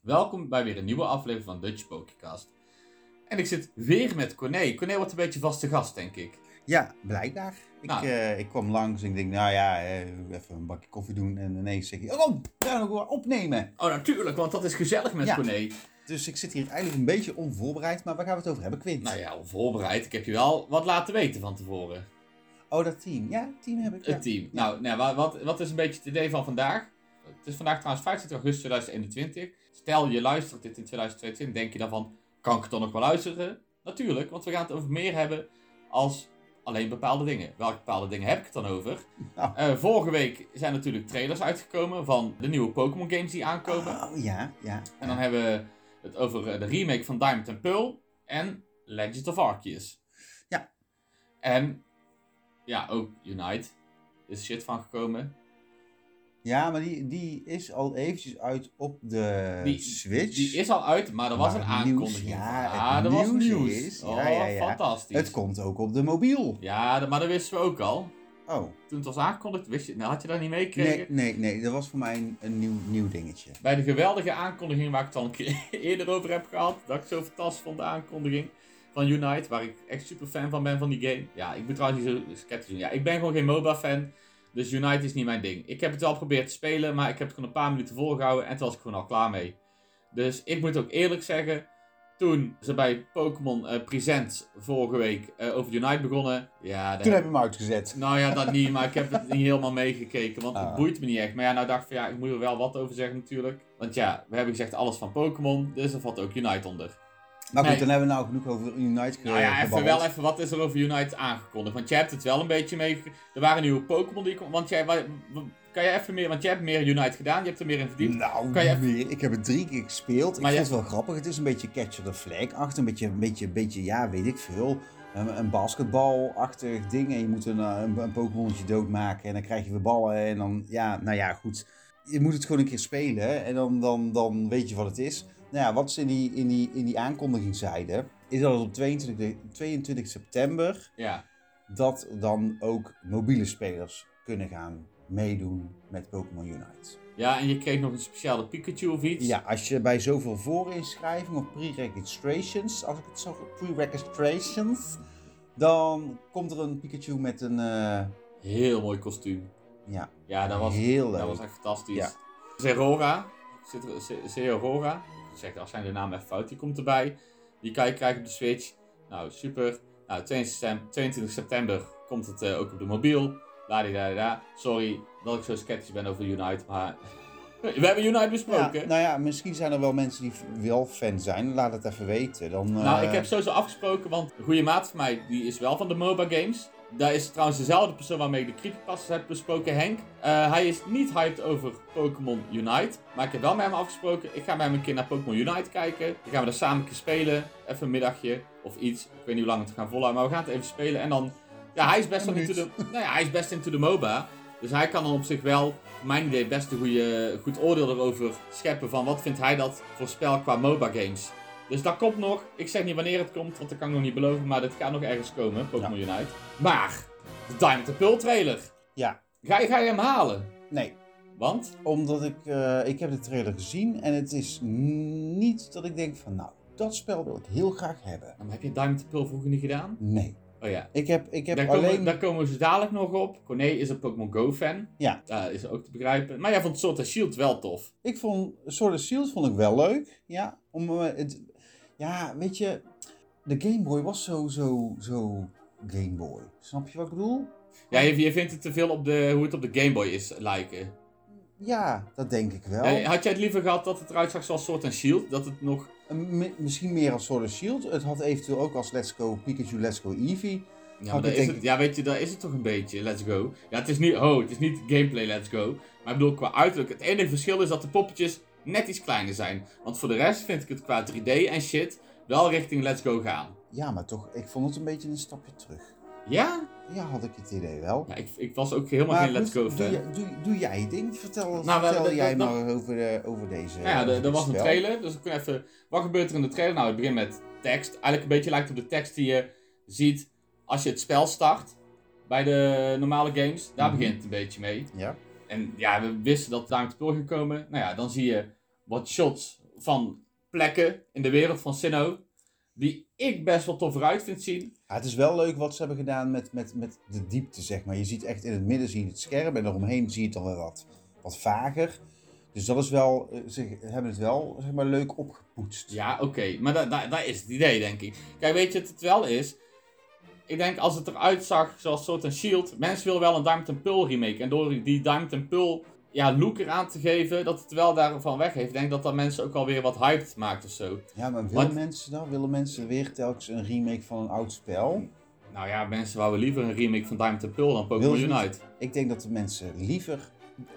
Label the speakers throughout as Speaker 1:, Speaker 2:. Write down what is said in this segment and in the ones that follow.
Speaker 1: Welkom bij weer een nieuwe aflevering van Dutch Pokercast. En ik zit weer met Corné. Corné wordt een beetje vaste gast, denk ik.
Speaker 2: Ja, blijkbaar. Ik,
Speaker 1: Nou.
Speaker 2: eh, ik kwam langs en ik denk, nou ja, eh, even een bakje koffie doen. En ineens zeg ik, oh, daar nog wel opnemen.
Speaker 1: Oh, natuurlijk, want dat is gezellig met
Speaker 2: Ja.
Speaker 1: Corné.
Speaker 2: Dus ik zit hier eigenlijk een beetje onvoorbereid, maar waar gaan we het over hebben, Quint?
Speaker 1: Nou ja, voorbereid. Ik heb je wel wat laten weten van tevoren.
Speaker 2: Oh, dat team. Ja, team heb ik. ja.
Speaker 1: Het team. Nou, nou wa- wat, wat is een beetje het idee van vandaag? Het is vandaag trouwens 15 augustus 2021. Stel je luistert dit in 2022, denk je dan van, kan ik het dan nog wel luisteren? Natuurlijk, want we gaan het over meer hebben als alleen bepaalde dingen. Welke bepaalde dingen heb ik het dan over?
Speaker 2: Nou.
Speaker 1: Eh, vorige week zijn natuurlijk trailers uitgekomen van de nieuwe Pokémon games die aankomen.
Speaker 2: Oh, ja, ja.
Speaker 1: En dan hebben we het over eh, de remake van Diamond and Pearl en Legend of Arceus.
Speaker 2: Ja.
Speaker 1: En ja, ook Unite is shit van gekomen.
Speaker 2: Ja, maar die, die is al eventjes uit op de
Speaker 1: Die-
Speaker 2: Switch.
Speaker 1: Die is al uit, maar er was
Speaker 2: Maar
Speaker 1: een
Speaker 2: het nieuws,
Speaker 1: aankondiging.
Speaker 2: ja, het
Speaker 1: ah, er was
Speaker 2: nieuws
Speaker 1: nieuws.
Speaker 2: is- ja,
Speaker 1: oh,
Speaker 2: ja, ja.
Speaker 1: fantastisch.
Speaker 2: Het komt ook op de mobiel.
Speaker 1: Ja, d- maar dat wisten we ook al.
Speaker 2: Oh,
Speaker 1: Toen het was aangekondigd, wist je, nou, had je dat niet meegekregen?
Speaker 2: nee, nee, nee. Dat was voor mij een, een nieuw, nieuw dingetje.
Speaker 1: Bij de geweldige aankondiging waar ik het al een keer eerder over heb gehad. Dat ik zo fantastisch vond, de aankondiging van Unite. Waar ik echt super fan van ben van die game. Ja, ik moet trouwens niet zo sceptisch doen. Ja, ik ben gewoon geen MOBA fan. Dus Unite is niet mijn ding. Ik heb het wel geprobeerd te spelen. Maar ik heb het gewoon een paar minuten volgehouden. En toen was ik gewoon al klaar mee. Dus ik moet ook eerlijk zeggen. Toen ze bij Pokémon eh Presents vorige week eh, over Unite begonnen. Ja, daar
Speaker 2: Toen heb ik hem uitgezet.
Speaker 1: nou ja, dat niet, maar ik heb het niet helemaal meegekeken, want het
Speaker 2: Ah.
Speaker 1: boeit me niet echt. Maar ja, nou dacht ik van ja, ik moet er wel wat over zeggen natuurlijk. Want ja, we hebben gezegd alles van Pokémon, dus er valt ook Unite onder.
Speaker 2: Maar goed,
Speaker 1: Nee.
Speaker 2: dan hebben we nou genoeg over Unite ge-
Speaker 1: Nou ja, even
Speaker 2: gebabbeld.
Speaker 1: wel even, wat is er over Unite aangekondigd? Want jij hebt het wel een beetje mee. Er waren nieuwe Pokémon die... kon- Want jij... wa- wa- Kan jij even meer... Want jij hebt meer Unite gedaan, je hebt er meer in verdiend.
Speaker 2: Nou,
Speaker 1: Kan je-
Speaker 2: weer. ik heb het drie keer gespeeld.
Speaker 1: Maar
Speaker 2: ik
Speaker 1: je-
Speaker 2: vond het wel grappig. Het is een beetje catcher the flag achter. Een beetje, een beetje, een beetje ja, weet ik veel. Een, een basketbalachtig ding. En je moet een, eh, een, een Pokémonnetje doodmaken. En dan krijg je weer ballen. En dan, ja, nou ja, goed. Je moet het gewoon een keer spelen. hè. En dan, dan, dan weet je wat het is. Nou ja, wat ze in die, in die, in die aankondiging zeiden. Is dat het op 22, 22 september.
Speaker 1: Ja.
Speaker 2: Dat dan ook mobiele spelers kunnen gaan meedoen met Pokémon Unite.
Speaker 1: Ja, en je kreeg nog een speciale Pikachu of iets.
Speaker 2: Ja, als je bij zoveel voorinschrijving of pre-registrations, als ik het zo pre-registrations, dan komt er een Pikachu met een, eh,
Speaker 1: Heel mooi kostuum.
Speaker 2: ja,
Speaker 1: Ja, dat was...
Speaker 2: heel leuk.
Speaker 1: Dat was echt fantastisch.
Speaker 2: Ja.
Speaker 1: Zerora, zit er- Ze- Zerora, ik zeg als zijn de naam even fout, die komt erbij. Die kan je krijgen op de Switch. Nou, super. Nou, 22 septem- 22 september komt het eh, ook op de mobiel. Ladidadida. Sorry dat ik zo sceptisch ben over Unite, maar... We hebben Unite
Speaker 2: Ja,
Speaker 1: besproken.
Speaker 2: nou ja, misschien zijn er wel mensen die f- wel fan zijn. Laat het even weten. Dan,
Speaker 1: Nou,
Speaker 2: eh,
Speaker 1: ik heb sowieso afgesproken, want een goede maat van mij, die is wel van de MOBA games. Daar is trouwens dezelfde persoon waarmee ik de creepypastas heb besproken, Henk. Eh, hij is niet hyped over Pokémon Unite. Maar ik heb wel met hem afgesproken, ik ga met hem een keer naar Pokémon Unite kijken. Dan gaan we daar samen een keer spelen. Even een middagje of iets. Ik weet niet hoe lang we het gaan volhouden, maar we gaan het even spelen. En dan, ja, hij is best,
Speaker 2: Een
Speaker 1: wel into the,
Speaker 2: minuut.
Speaker 1: nou ja, hij is best into the MOBA. Dus hij kan dan op zich wel, voor mijn idee, best een goede, goed oordeel erover scheppen van wat vindt hij dat voor spel qua MOBA games. Dus dat komt nog. Ik zeg niet wanneer het komt, want dat kan ik nog niet beloven. Maar dat gaat nog ergens komen, Pokémon Unite. Maar, de Diamond and Pearl trailer.
Speaker 2: Ja.
Speaker 1: Ga je, ga je hem halen?
Speaker 2: Nee,
Speaker 1: Want?
Speaker 2: omdat ik, eh, ik heb de trailer gezien en het is niet dat ik denk van, nou, dat spel wil ik heel graag hebben.
Speaker 1: Nou, maar heb je Diamond and Pearl vroeger niet gedaan?
Speaker 2: Nee,
Speaker 1: Oh ja.
Speaker 2: ik heb, ik heb
Speaker 1: Daar,
Speaker 2: alleen...
Speaker 1: komen, daar komen ze dadelijk nog op. Corné is een Pokémon Go-fan.
Speaker 2: Ja.
Speaker 1: Dat is ook te begrijpen. Maar jij vond Sword and Shield wel tof.
Speaker 2: Ik vond Sword of Shield vond ik wel leuk. Ja, om, eh, het, ja weet je, de Game Boy was zo, zo, zo Game Boy. Snap je wat ik bedoel?
Speaker 1: Ja, je, je vindt het te veel op de, hoe het op de Game Boy is lijken.
Speaker 2: Ja, dat denk ik wel.
Speaker 1: Eh, Had jij het liever gehad dat het eruit zag zoals Sword and Shield? Dat het nog...
Speaker 2: Een- mi- misschien meer als Sword of Shield. Het had eventueel ook als Let's Go Pikachu, Let's Go Eevee.
Speaker 1: Ja, maar
Speaker 2: Oh, dat
Speaker 1: daar is
Speaker 2: denk
Speaker 1: het, ja, weet je, daar is het toch een beetje. Let's go. Ja, het is niet, oh, het is niet gameplay let's go. Maar ik bedoel, qua uiterlijk. Het enige verschil is dat de poppetjes net iets kleiner zijn. Want voor de rest vind ik het qua 3D en shit wel richting let's go gaan.
Speaker 2: Ja, maar toch, ik vond het een beetje een stapje terug.
Speaker 1: Ja?
Speaker 2: Ja, dus had ik het idee wel.
Speaker 1: ja ik, ik was ook helemaal geen let's go
Speaker 2: goed, doe,
Speaker 1: fan.
Speaker 2: je- doe, doe jij je ding. Vertel,
Speaker 1: Nou, we-
Speaker 2: vertel
Speaker 1: dat-
Speaker 2: jij
Speaker 1: dat-
Speaker 2: maar over, de, over deze.
Speaker 1: Nou ja,
Speaker 2: over
Speaker 1: er- er
Speaker 2: dit
Speaker 1: was een
Speaker 2: spel.
Speaker 1: trailer, dus ik kon even... Wat gebeurt er in de trailer? Nou, het begint met tekst. Eigenlijk een beetje lijkt op de tekst die je ziet als je het spel start. Bij de normale games. Daar
Speaker 2: Mhm.
Speaker 1: begint het een beetje mee.
Speaker 2: Ja.
Speaker 1: En ja, we wisten dat het daar aan het spoor ging komen. Nou ja, dan zie je wat shots van plekken in de wereld van Sinnoh. Die ik best wel tof eruit vind zien.
Speaker 2: Ja, het is wel leuk wat ze hebben gedaan met, met, met de diepte, zeg maar. Je ziet echt in het midden zie je het scherm en eromheen zie je het dan wel wat, wat vager. Dus dat is wel, eh, ze hebben het wel zeg maar, leuk opgepoetst.
Speaker 1: Ja, oké. Maar daar da, daar is het idee, denk ik. Kijk, weet je wat het wel is? Ik denk als het eruit zag zoals soort een shield. Mensen willen wel een Diamond and Pearl remake. En door die Diamond and Pearl ja, look eraan te geven, dat het wel daarvan weg heeft. Ik denk dat dat mensen ook alweer wat hyped maakt of zo.
Speaker 2: Ja, maar willen
Speaker 1: Wat-
Speaker 2: mensen dan? Willen mensen weer telkens een remake van een oud spel?
Speaker 1: Nou ja, mensen wouden liever een remake van Diamond and Pearl dan
Speaker 2: Wil
Speaker 1: Pokémon
Speaker 2: ze niet?
Speaker 1: Unite.
Speaker 2: Ik denk dat de mensen liever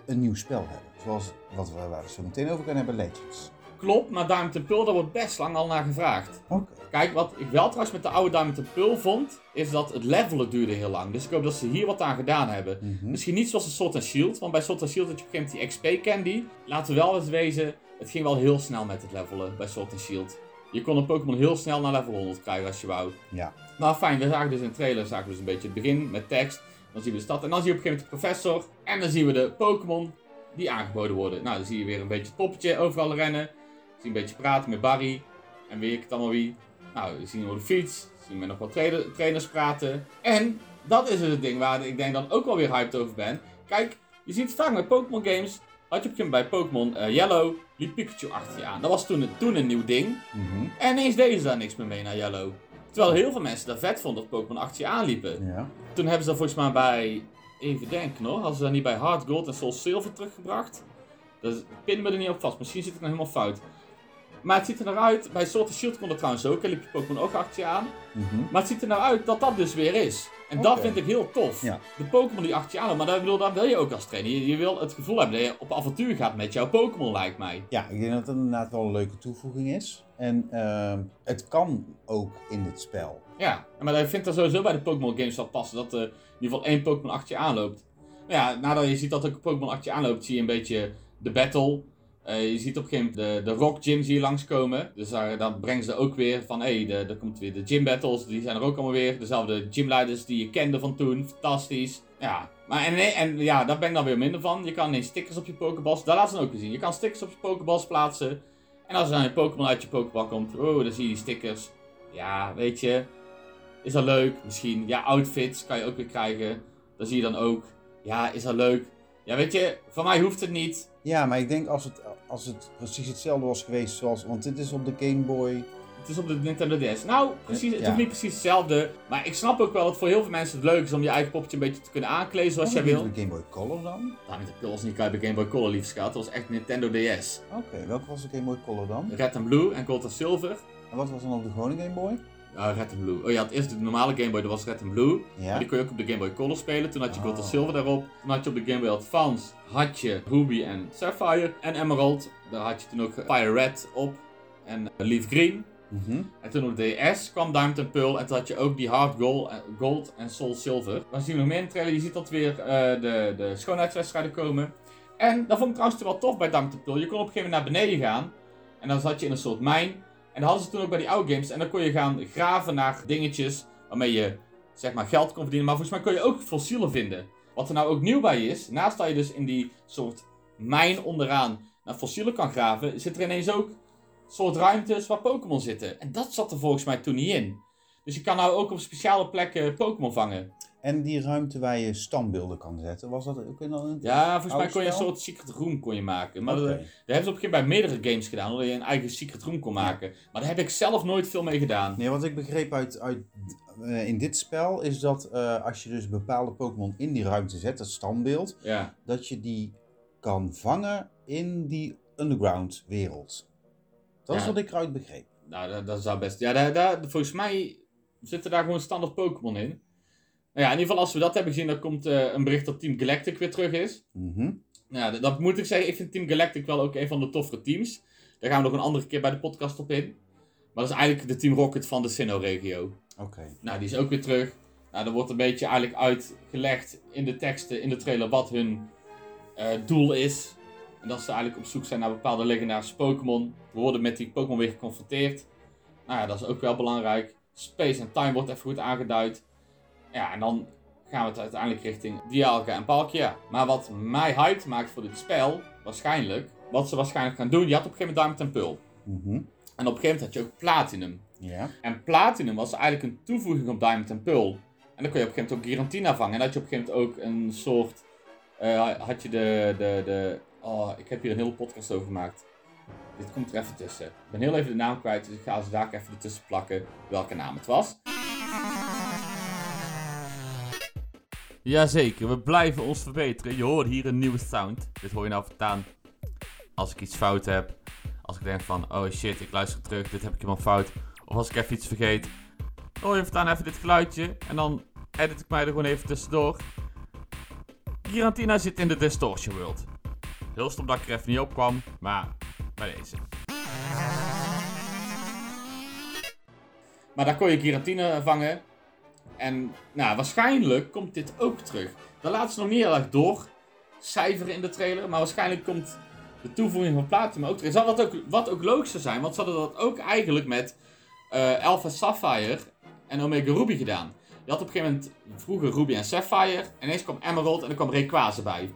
Speaker 2: een nieuw spel hebben. Zoals wat we, waar we zo meteen over gaan hebben, Legends.
Speaker 1: Klopt, maar Diamond and Pearl, daar wordt best lang al naar gevraagd.
Speaker 2: Oké.
Speaker 1: Kijk, wat ik wel trouwens met de oude Diamond and Pearl vond, is dat het levelen duurde heel lang. Dus ik hoop dat ze hier wat aan gedaan hebben.
Speaker 2: Mhm.
Speaker 1: Misschien niet zoals een Sword and Shield, want bij Sword and Shield had je op een gegeven moment die XP-candy. Laten we wel eens wezen, het ging wel heel snel met het levelen bij Sword and Shield. Je kon een Pokémon heel snel naar level 100 krijgen als je wou.
Speaker 2: Ja.
Speaker 1: Nou fijn, we zagen dus in de trailer zagen we dus een beetje het begin met tekst. Dan zien we de stad en dan zien we op een gegeven moment de professor. En dan zien we de Pokémon die aangeboden worden. Nou, dan zie je weer een beetje het poppetje overal rennen. Zie je een beetje praten met Barry en weet ik het allemaal wie. Nou, dan zien we de fiets. Zien we nog wat trainer- trainers praten. En dat is dus het ding waar ik denk dan ook wel weer hyped over ben. Kijk, je ziet het vaak met Pokémon games. Had je op een gegeven moment bij Pokémon eh, Yellow, liep Pikachu achter je aan. Dat was toen, toen een nieuw ding.
Speaker 2: Mhm.
Speaker 1: En ineens deden ze daar niks meer mee naar Yellow. Terwijl heel veel mensen daar vet vonden dat Pokémon achter je aanliepen.
Speaker 2: Ja.
Speaker 1: Toen hebben ze dat volgens mij bij. Even denken hoor. Hadden ze dat niet bij Hard Gold en Soul Silver teruggebracht? Dat is- pin me er niet op vast. Misschien zit ik nou helemaal fout. Maar het ziet er naar uit. Bij Sword and Shield kon dat trouwens ook. En liep je Pokémon ook achter je aan.
Speaker 2: Mhm.
Speaker 1: Maar het ziet er nou uit dat dat dus weer is. En
Speaker 2: Oké.
Speaker 1: dat vind ik heel tof.
Speaker 2: Ja.
Speaker 1: De Pokémon die achter je aan loopt, Maar dat, bedoel, dat wil je ook als trainer. Je, je wil het gevoel hebben dat je op avontuur gaat met jouw Pokémon, lijkt mij.
Speaker 2: Ja, ik denk dat het inderdaad wel een leuke toevoeging is. En ehm, het kan ook in dit spel.
Speaker 1: Ja, maar ik vind dat sowieso bij de Pokémon games zal passen. Dat er in ieder geval één Pokémon achter je aanloopt. Maar ja, nadat je ziet dat ook een Pokémon achter je aanloopt, zie je een beetje de battle. Eh, je ziet op een gegeven moment de, de Rock Gym zie je langskomen. Dus daar, dan brengen ze ook weer van, hé, hey, er komt weer de gym battles. Die zijn er ook allemaal weer. Dezelfde gymleiders die je kende van toen. Fantastisch. Ja, maar en, en ja, daar ben ik dan weer minder van. Je kan ineens stickers op je Pokéballs, daar laten ze dan ook weer zien. Je kan stickers op je Pokéballs plaatsen. En als er dan een Pokémon uit je Pokéball komt, oh, dan zie je die stickers. Ja, weet je, is dat leuk? Misschien. Ja, outfits kan je ook weer krijgen. Dat zie je dan ook. Ja, is dat leuk? Ja, weet je, van mij hoeft het niet.
Speaker 2: Ja, maar ik denk als het, als het precies hetzelfde was geweest zoals... Want dit is op de Game Boy.
Speaker 1: Het is op de Nintendo DS. Nou, precies, het
Speaker 2: Ja.
Speaker 1: hoeft niet precies hetzelfde. Maar ik snap ook wel dat voor heel veel mensen het leuk is om je eigen poppetje een beetje te kunnen aankleden zoals jij
Speaker 2: Oh, dit is
Speaker 1: wil.
Speaker 2: De Game Boy Color dan?
Speaker 1: Nou, met de Pulse niet kan je bij Game Boy Color liefst gehad. Dat was echt Nintendo DS.
Speaker 2: Oké, welke was de Game Boy Color dan?
Speaker 1: Red and Blue en Gold en Silver.
Speaker 2: En wat was dan op de gewone Game Boy?
Speaker 1: Ja, Red and Blue. Oh ja, het eerste de normale Game Boy, dat was Red and Blue.
Speaker 2: Ja.
Speaker 1: Maar Die kon je ook op de Game Boy Color spelen. Toen had je Gold en
Speaker 2: Oh.
Speaker 1: Silver daarop. Toen had je op de Game Boy Advance had je Ruby en Sapphire en Emerald. Daar had je toen ook Fire Red op en eh, Leaf Green.
Speaker 2: Mhm.
Speaker 1: En toen op de DS kwam Diamond and Pearl. En toen had je ook die Hard Gold, eh, gold en Soul Silver. Dan zien we nog meer in de trailer. Je ziet dat weer eh, de, de schoonheidswedstrijden komen. En dat vond ik trouwens wel tof bij Diamond and Pearl. Je kon op een gegeven moment naar beneden gaan. En dan zat je in een soort mijn. En dat hadden ze toen ook bij die oude games. En dan kon je gaan graven naar dingetjes waarmee je zeg maar geld kon verdienen. Maar volgens mij kon je ook fossielen vinden. Wat er nou ook nieuw bij is, naast dat je dus in die soort mijn onderaan naar fossielen kan graven, zit er ineens ook soort ruimtes waar Pokémon zitten. En dat zat er volgens mij toen niet in. Dus je kan nou ook op speciale plekken Pokémon vangen.
Speaker 2: En die ruimte waar je standbeelden kan zetten, was dat ook in een...
Speaker 1: Ja, volgens mij
Speaker 2: Oude
Speaker 1: kon je een
Speaker 2: spel?
Speaker 1: soort secret room kon je maken. Maar
Speaker 2: Oké.
Speaker 1: dat, dat hebben ze op een gegeven moment bij meerdere games gedaan, omdat je een eigen secret room kon maken. Maar daar heb ik zelf nooit veel mee gedaan.
Speaker 2: Nee, wat ik begreep uit, uit, eh, in dit spel is dat eh, als je dus bepaalde Pokémon in die ruimte zet, dat standbeeld,
Speaker 1: Ja.
Speaker 2: dat je die kan vangen in die underground wereld. Dat is
Speaker 1: Ja.
Speaker 2: wat ik eruit begreep.
Speaker 1: Nou, dat, dat zou best. Ja, daar, daar, volgens mij zitten daar gewoon standaard Pokémon in. Nou ja, in ieder geval, als we dat hebben gezien, dan komt eh, een bericht dat Team Galactic weer terug is.
Speaker 2: Mhm.
Speaker 1: Nou, ja, dat, dat moet ik zeggen. Ik vind Team Galactic wel ook een van de toffere teams. Daar gaan we nog een andere keer bij de podcast op in. Maar dat is eigenlijk de Team Rocket van de Sinnoh-regio.
Speaker 2: Oké.
Speaker 1: Nou, die is ook weer terug. Nou, er wordt een beetje eigenlijk uitgelegd in de teksten, in de trailer, wat hun eh, doel is. En dat ze eigenlijk op zoek zijn naar bepaalde legendarische Pokémon. We worden met die Pokémon weer geconfronteerd. Nou ja, dat is ook wel belangrijk. Space en time wordt even goed aangeduid. Ja, en dan gaan we het uiteindelijk richting Dialga en Palkia. Maar wat mij hyped maakt voor dit spel, waarschijnlijk, wat ze waarschijnlijk gaan doen, je had op een gegeven moment Diamond en Pearl.
Speaker 2: Mhm.
Speaker 1: En op een gegeven moment had je ook Platinum.
Speaker 2: Ja.
Speaker 1: En Platinum was eigenlijk een toevoeging op Diamond en Pearl. En dan kon je op een gegeven moment ook Girantina vangen. En had je op een gegeven moment ook een soort... eh, had je de, de, de... Oh, ik heb hier een hele podcast over gemaakt. Dit komt er even tussen. Ik ben heel even de naam kwijt, dus ik ga ze daar even ertussen plakken welke naam het was. Jazeker, we blijven ons verbeteren. Je hoort hier een nieuwe sound. Dit hoor je nou vertaan als ik iets fout heb. Als ik denk van, oh shit, ik luister terug, dit heb ik helemaal fout. Of als ik even iets vergeet. Oh, je vertaan even dit geluidje. En dan edit ik mij er gewoon even tussendoor. Girantina zit in de Distortion World. Heel stom dat ik er even niet op kwam, maar bij deze. Maar daar kon je Giratina vangen. En nou, waarschijnlijk komt dit ook terug. Dat laten ze nog niet heel erg door cijferen in de trailer. Maar waarschijnlijk komt de toevoeging van Platinum ook terug. Zal wat ook, wat ook leuk zou zijn, want ze hadden dat ook eigenlijk met eh Alpha Sapphire en Omega Ruby gedaan. Je had op een gegeven moment vroeger Ruby en Sapphire. En ineens kwam Emerald en er kwam Rayquaza bij.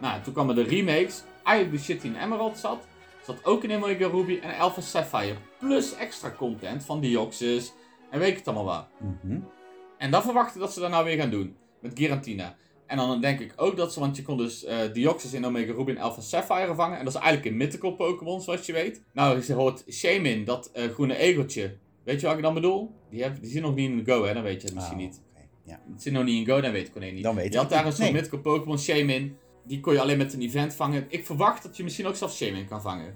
Speaker 1: Nou, toen kwamen de remakes. Eigenlijk de shit die in Emerald zat. Zat ook in Omega Ruby en Alpha Sapphire. Plus extra content van Deoxys en weet ik het allemaal wel.
Speaker 2: Mhm.
Speaker 1: En dan verwachten dat ze dat nou weer gaan doen. Met Giratina. En dan denk ik ook dat ze, want je kon dus eh Deoxys in Omega Ruby en Alpha Sapphire vangen. En dat is eigenlijk een mythical Pokémon, zoals je weet. Nou, ze hoort Shamin, dat eh, groene egeltje. Weet je wat ik dan bedoel? Die, heb, die zit nog niet in de Go, hè? Dan weet je het misschien
Speaker 2: Ah,
Speaker 1: niet.
Speaker 2: oké. Ja.
Speaker 1: Het zit nog niet in Go, dan weet ik het niet.
Speaker 2: Dan weet ik
Speaker 1: je had
Speaker 2: het
Speaker 1: daar
Speaker 2: niet.
Speaker 1: een soort
Speaker 2: Nee.
Speaker 1: mythical Pokémon Shamin. Die kon je alleen met een event vangen. Ik verwacht dat je misschien ook zelf Shamin kan vangen.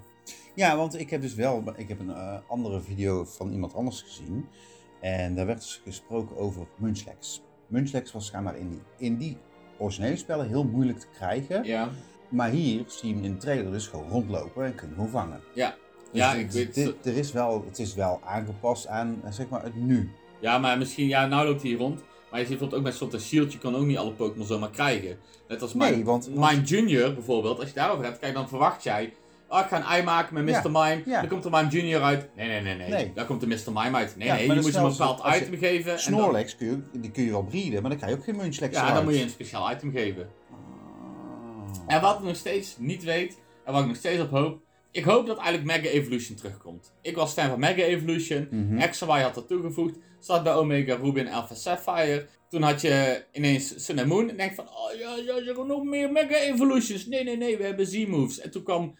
Speaker 2: ja, want ik heb dus wel ik heb een eh, andere video van iemand anders gezien. En daar werd dus gesproken over Munchlax. Munchlax was schijnbaar in die, in die originele spellen heel moeilijk te krijgen.
Speaker 1: Ja.
Speaker 2: Maar hier zie je hem in de trailer dus gewoon rondlopen en kun je hem gewoon vangen.
Speaker 1: Ja.
Speaker 2: Dus
Speaker 1: Ja,
Speaker 2: dit-
Speaker 1: ik weet-
Speaker 2: dit, er is wel, Het is wel aangepast aan eh, zeg maar, het nu.
Speaker 1: Ja, maar misschien, ja, nou loopt hij hier rond. Maar je ziet bijvoorbeeld ook met Sword and Shield, je kan ook niet alle Pokémon zomaar krijgen. Net als Mime,
Speaker 2: Nee, want... want-
Speaker 1: Mime Junior bijvoorbeeld, als je daarover hebt, kijk, dan verwacht jij... Oh, ik ga een ei maken met Mr.
Speaker 2: Ja,
Speaker 1: Mime.
Speaker 2: ja.
Speaker 1: Dan komt er Mime Junior uit. Nee, nee, nee, nee.
Speaker 2: Nee.
Speaker 1: Daar komt de Mr. Mime uit. Nee, nee,
Speaker 2: Ja, maar
Speaker 1: je
Speaker 2: dat
Speaker 1: moet
Speaker 2: is
Speaker 1: een
Speaker 2: wel zo-
Speaker 1: bepaald
Speaker 2: als je
Speaker 1: item geven. en dan-
Speaker 2: Snorlax kun je, die kun je wel breeden, maar dan krijg je ook geen Munchlax
Speaker 1: Ja,
Speaker 2: eruit.
Speaker 1: dan moet je een speciaal item geven.
Speaker 2: Ah.
Speaker 1: En wat ik nog steeds niet weet, en wat ik nog steeds op hoop... Ik hoop dat eigenlijk Mega Evolution terugkomt. Ik was fan van Mega Evolution.
Speaker 2: Mhm.
Speaker 1: XY had dat toegevoegd. Zat bij Omega Ruby en Alpha Sapphire. Toen had je ineens Sun and Moon. En denk van, oh ja, ja, je hebt nog meer Mega Evolutions. Nee, nee, nee, we hebben Z-moves. En toen kwam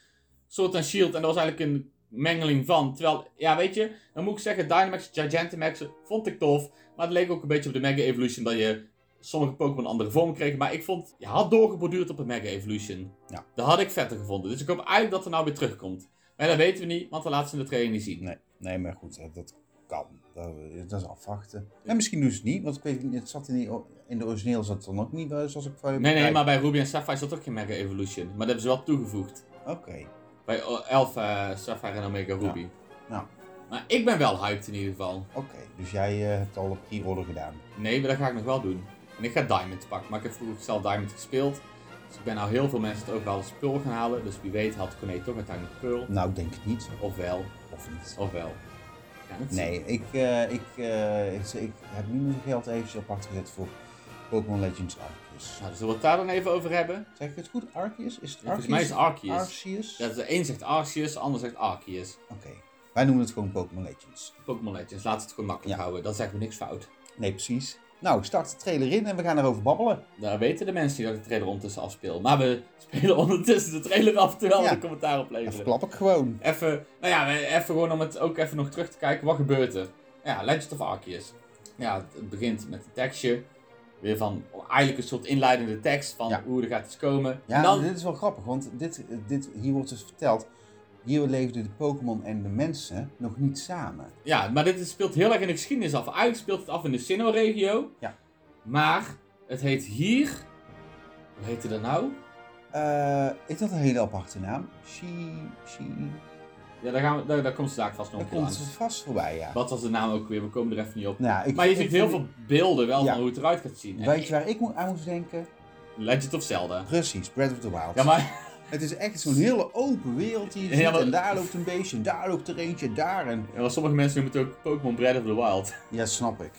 Speaker 1: Sword and Shield en dat was eigenlijk een mengeling van. Terwijl, ja, weet je, dan moet ik zeggen, Dynamax, Gigantamax vond ik tof. Maar het leek ook een beetje op de Mega Evolution dat je sommige Pokémon een andere vorm kregen. Maar ik vond, je had doorgeborduurd op een Mega Evolution.
Speaker 2: Ja.
Speaker 1: Dat had ik vetter gevonden. Dus ik hoop eigenlijk dat er nou weer terugkomt. Maar dat weten we niet, want dat laten ze in de trailer niet zien.
Speaker 2: Nee, nee, maar goed, hè, dat kan. Dat, dat is afwachten. En misschien doen ze het niet, want ik weet niet, het zat in, die, o- in de origineel zat het dan ook niet, eh, zoals ik van je
Speaker 1: Nee, nee,
Speaker 2: begrijp.
Speaker 1: maar bij Ruby en Sapphire zat ook geen Mega Evolution. Maar dat hebben ze wel toegevoegd.
Speaker 2: Oké.
Speaker 1: Bij O- Alpha, Sapphire en Omega Ruby.
Speaker 2: Ja.
Speaker 1: Maar ik ben wel hyped in ieder geval.
Speaker 2: Oké, dus jij eh, hebt al de pre-order gedaan.
Speaker 1: Nee, maar dat ga ik nog wel doen. En ik ga Diamond pakken. Maar ik heb vroeger zelf Diamond gespeeld. Dus ik ben nou heel veel mensen het ook wel als spul gaan halen. Dus wie weet had Corné toch uiteindelijk Pearl.
Speaker 2: Nou, ik denk het niet.
Speaker 1: Ofwel,
Speaker 2: Of niet.
Speaker 1: ofwel. Ja, dat is-
Speaker 2: Nee, ik, eh, ik, eh, ik, ik heb nu mijn geld even apart gezet voor Pokémon Legends Arceus.
Speaker 1: Nou, zullen we het daar dan even over hebben?
Speaker 2: Zeg ik het goed? Arceus? Is het
Speaker 1: Volgens mij is
Speaker 2: Arceus?
Speaker 1: het Arceus.
Speaker 2: Arceus?
Speaker 1: Ja, dus de een zegt Arceus, de ander zegt Arceus.
Speaker 2: Oké, wij noemen het gewoon Pokémon Legends.
Speaker 1: Pokémon Legends, laten we het gewoon makkelijk
Speaker 2: Ja.
Speaker 1: houden. Dan zeggen we niks fout.
Speaker 2: Nee, precies. Nou, ik start de trailer in en we gaan erover babbelen.
Speaker 1: Daar weten de mensen die dat ik de trailer ondertussen afspeel. Maar we spelen ondertussen de trailer af terwijl we
Speaker 2: Ja.
Speaker 1: de commentaar
Speaker 2: Dat
Speaker 1: opleveren.
Speaker 2: verklap ik gewoon.
Speaker 1: Even, nou ja, even gewoon om het ook even nog terug te kijken. Wat gebeurt er? Ja, Legend of Arceus. Ja, het begint met een tekstje. Weer van, eigenlijk een soort inleidende tekst van
Speaker 2: Ja.
Speaker 1: hoe er gaat iets komen.
Speaker 2: Ja,
Speaker 1: en dan,
Speaker 2: dit is wel grappig, want dit, dit, hier wordt dus verteld... Hier leefden de Pokémon en de mensen nog niet samen.
Speaker 1: ja, maar dit is- speelt heel erg in de geschiedenis af. Eigenlijk speelt het af in de Sinnoh-regio.
Speaker 2: Ja.
Speaker 1: Maar het heet hier... Hoe heette dat nou?
Speaker 2: Eh, is dat een hele aparte naam? She, she...
Speaker 1: Ja, daar, gaan we, daar, daar komt ze daar vast nog
Speaker 2: Daar
Speaker 1: op
Speaker 2: komt ze vast voorbij, ja.
Speaker 1: Wat was de naam ook weer? We komen er even niet op.
Speaker 2: Nou, ik-
Speaker 1: Maar je
Speaker 2: ik
Speaker 1: ziet heel
Speaker 2: vind-
Speaker 1: veel beelden wel
Speaker 2: Ja.
Speaker 1: van hoe het eruit gaat zien. En
Speaker 2: Weet je waar ik mo- aan moest denken?
Speaker 1: Legend of Zelda.
Speaker 2: Precies, Breath of the Wild.
Speaker 1: Ja, maar
Speaker 2: Het is echt zo'n hele open wereld die je
Speaker 1: Ja,
Speaker 2: ziet.
Speaker 1: maar-
Speaker 2: En daar loopt een beestje, en daar loopt er eentje, en daar. En...
Speaker 1: ja, maar sommige mensen noemen het ook Pokémon Breath of the Wild.
Speaker 2: Ja, snap ik.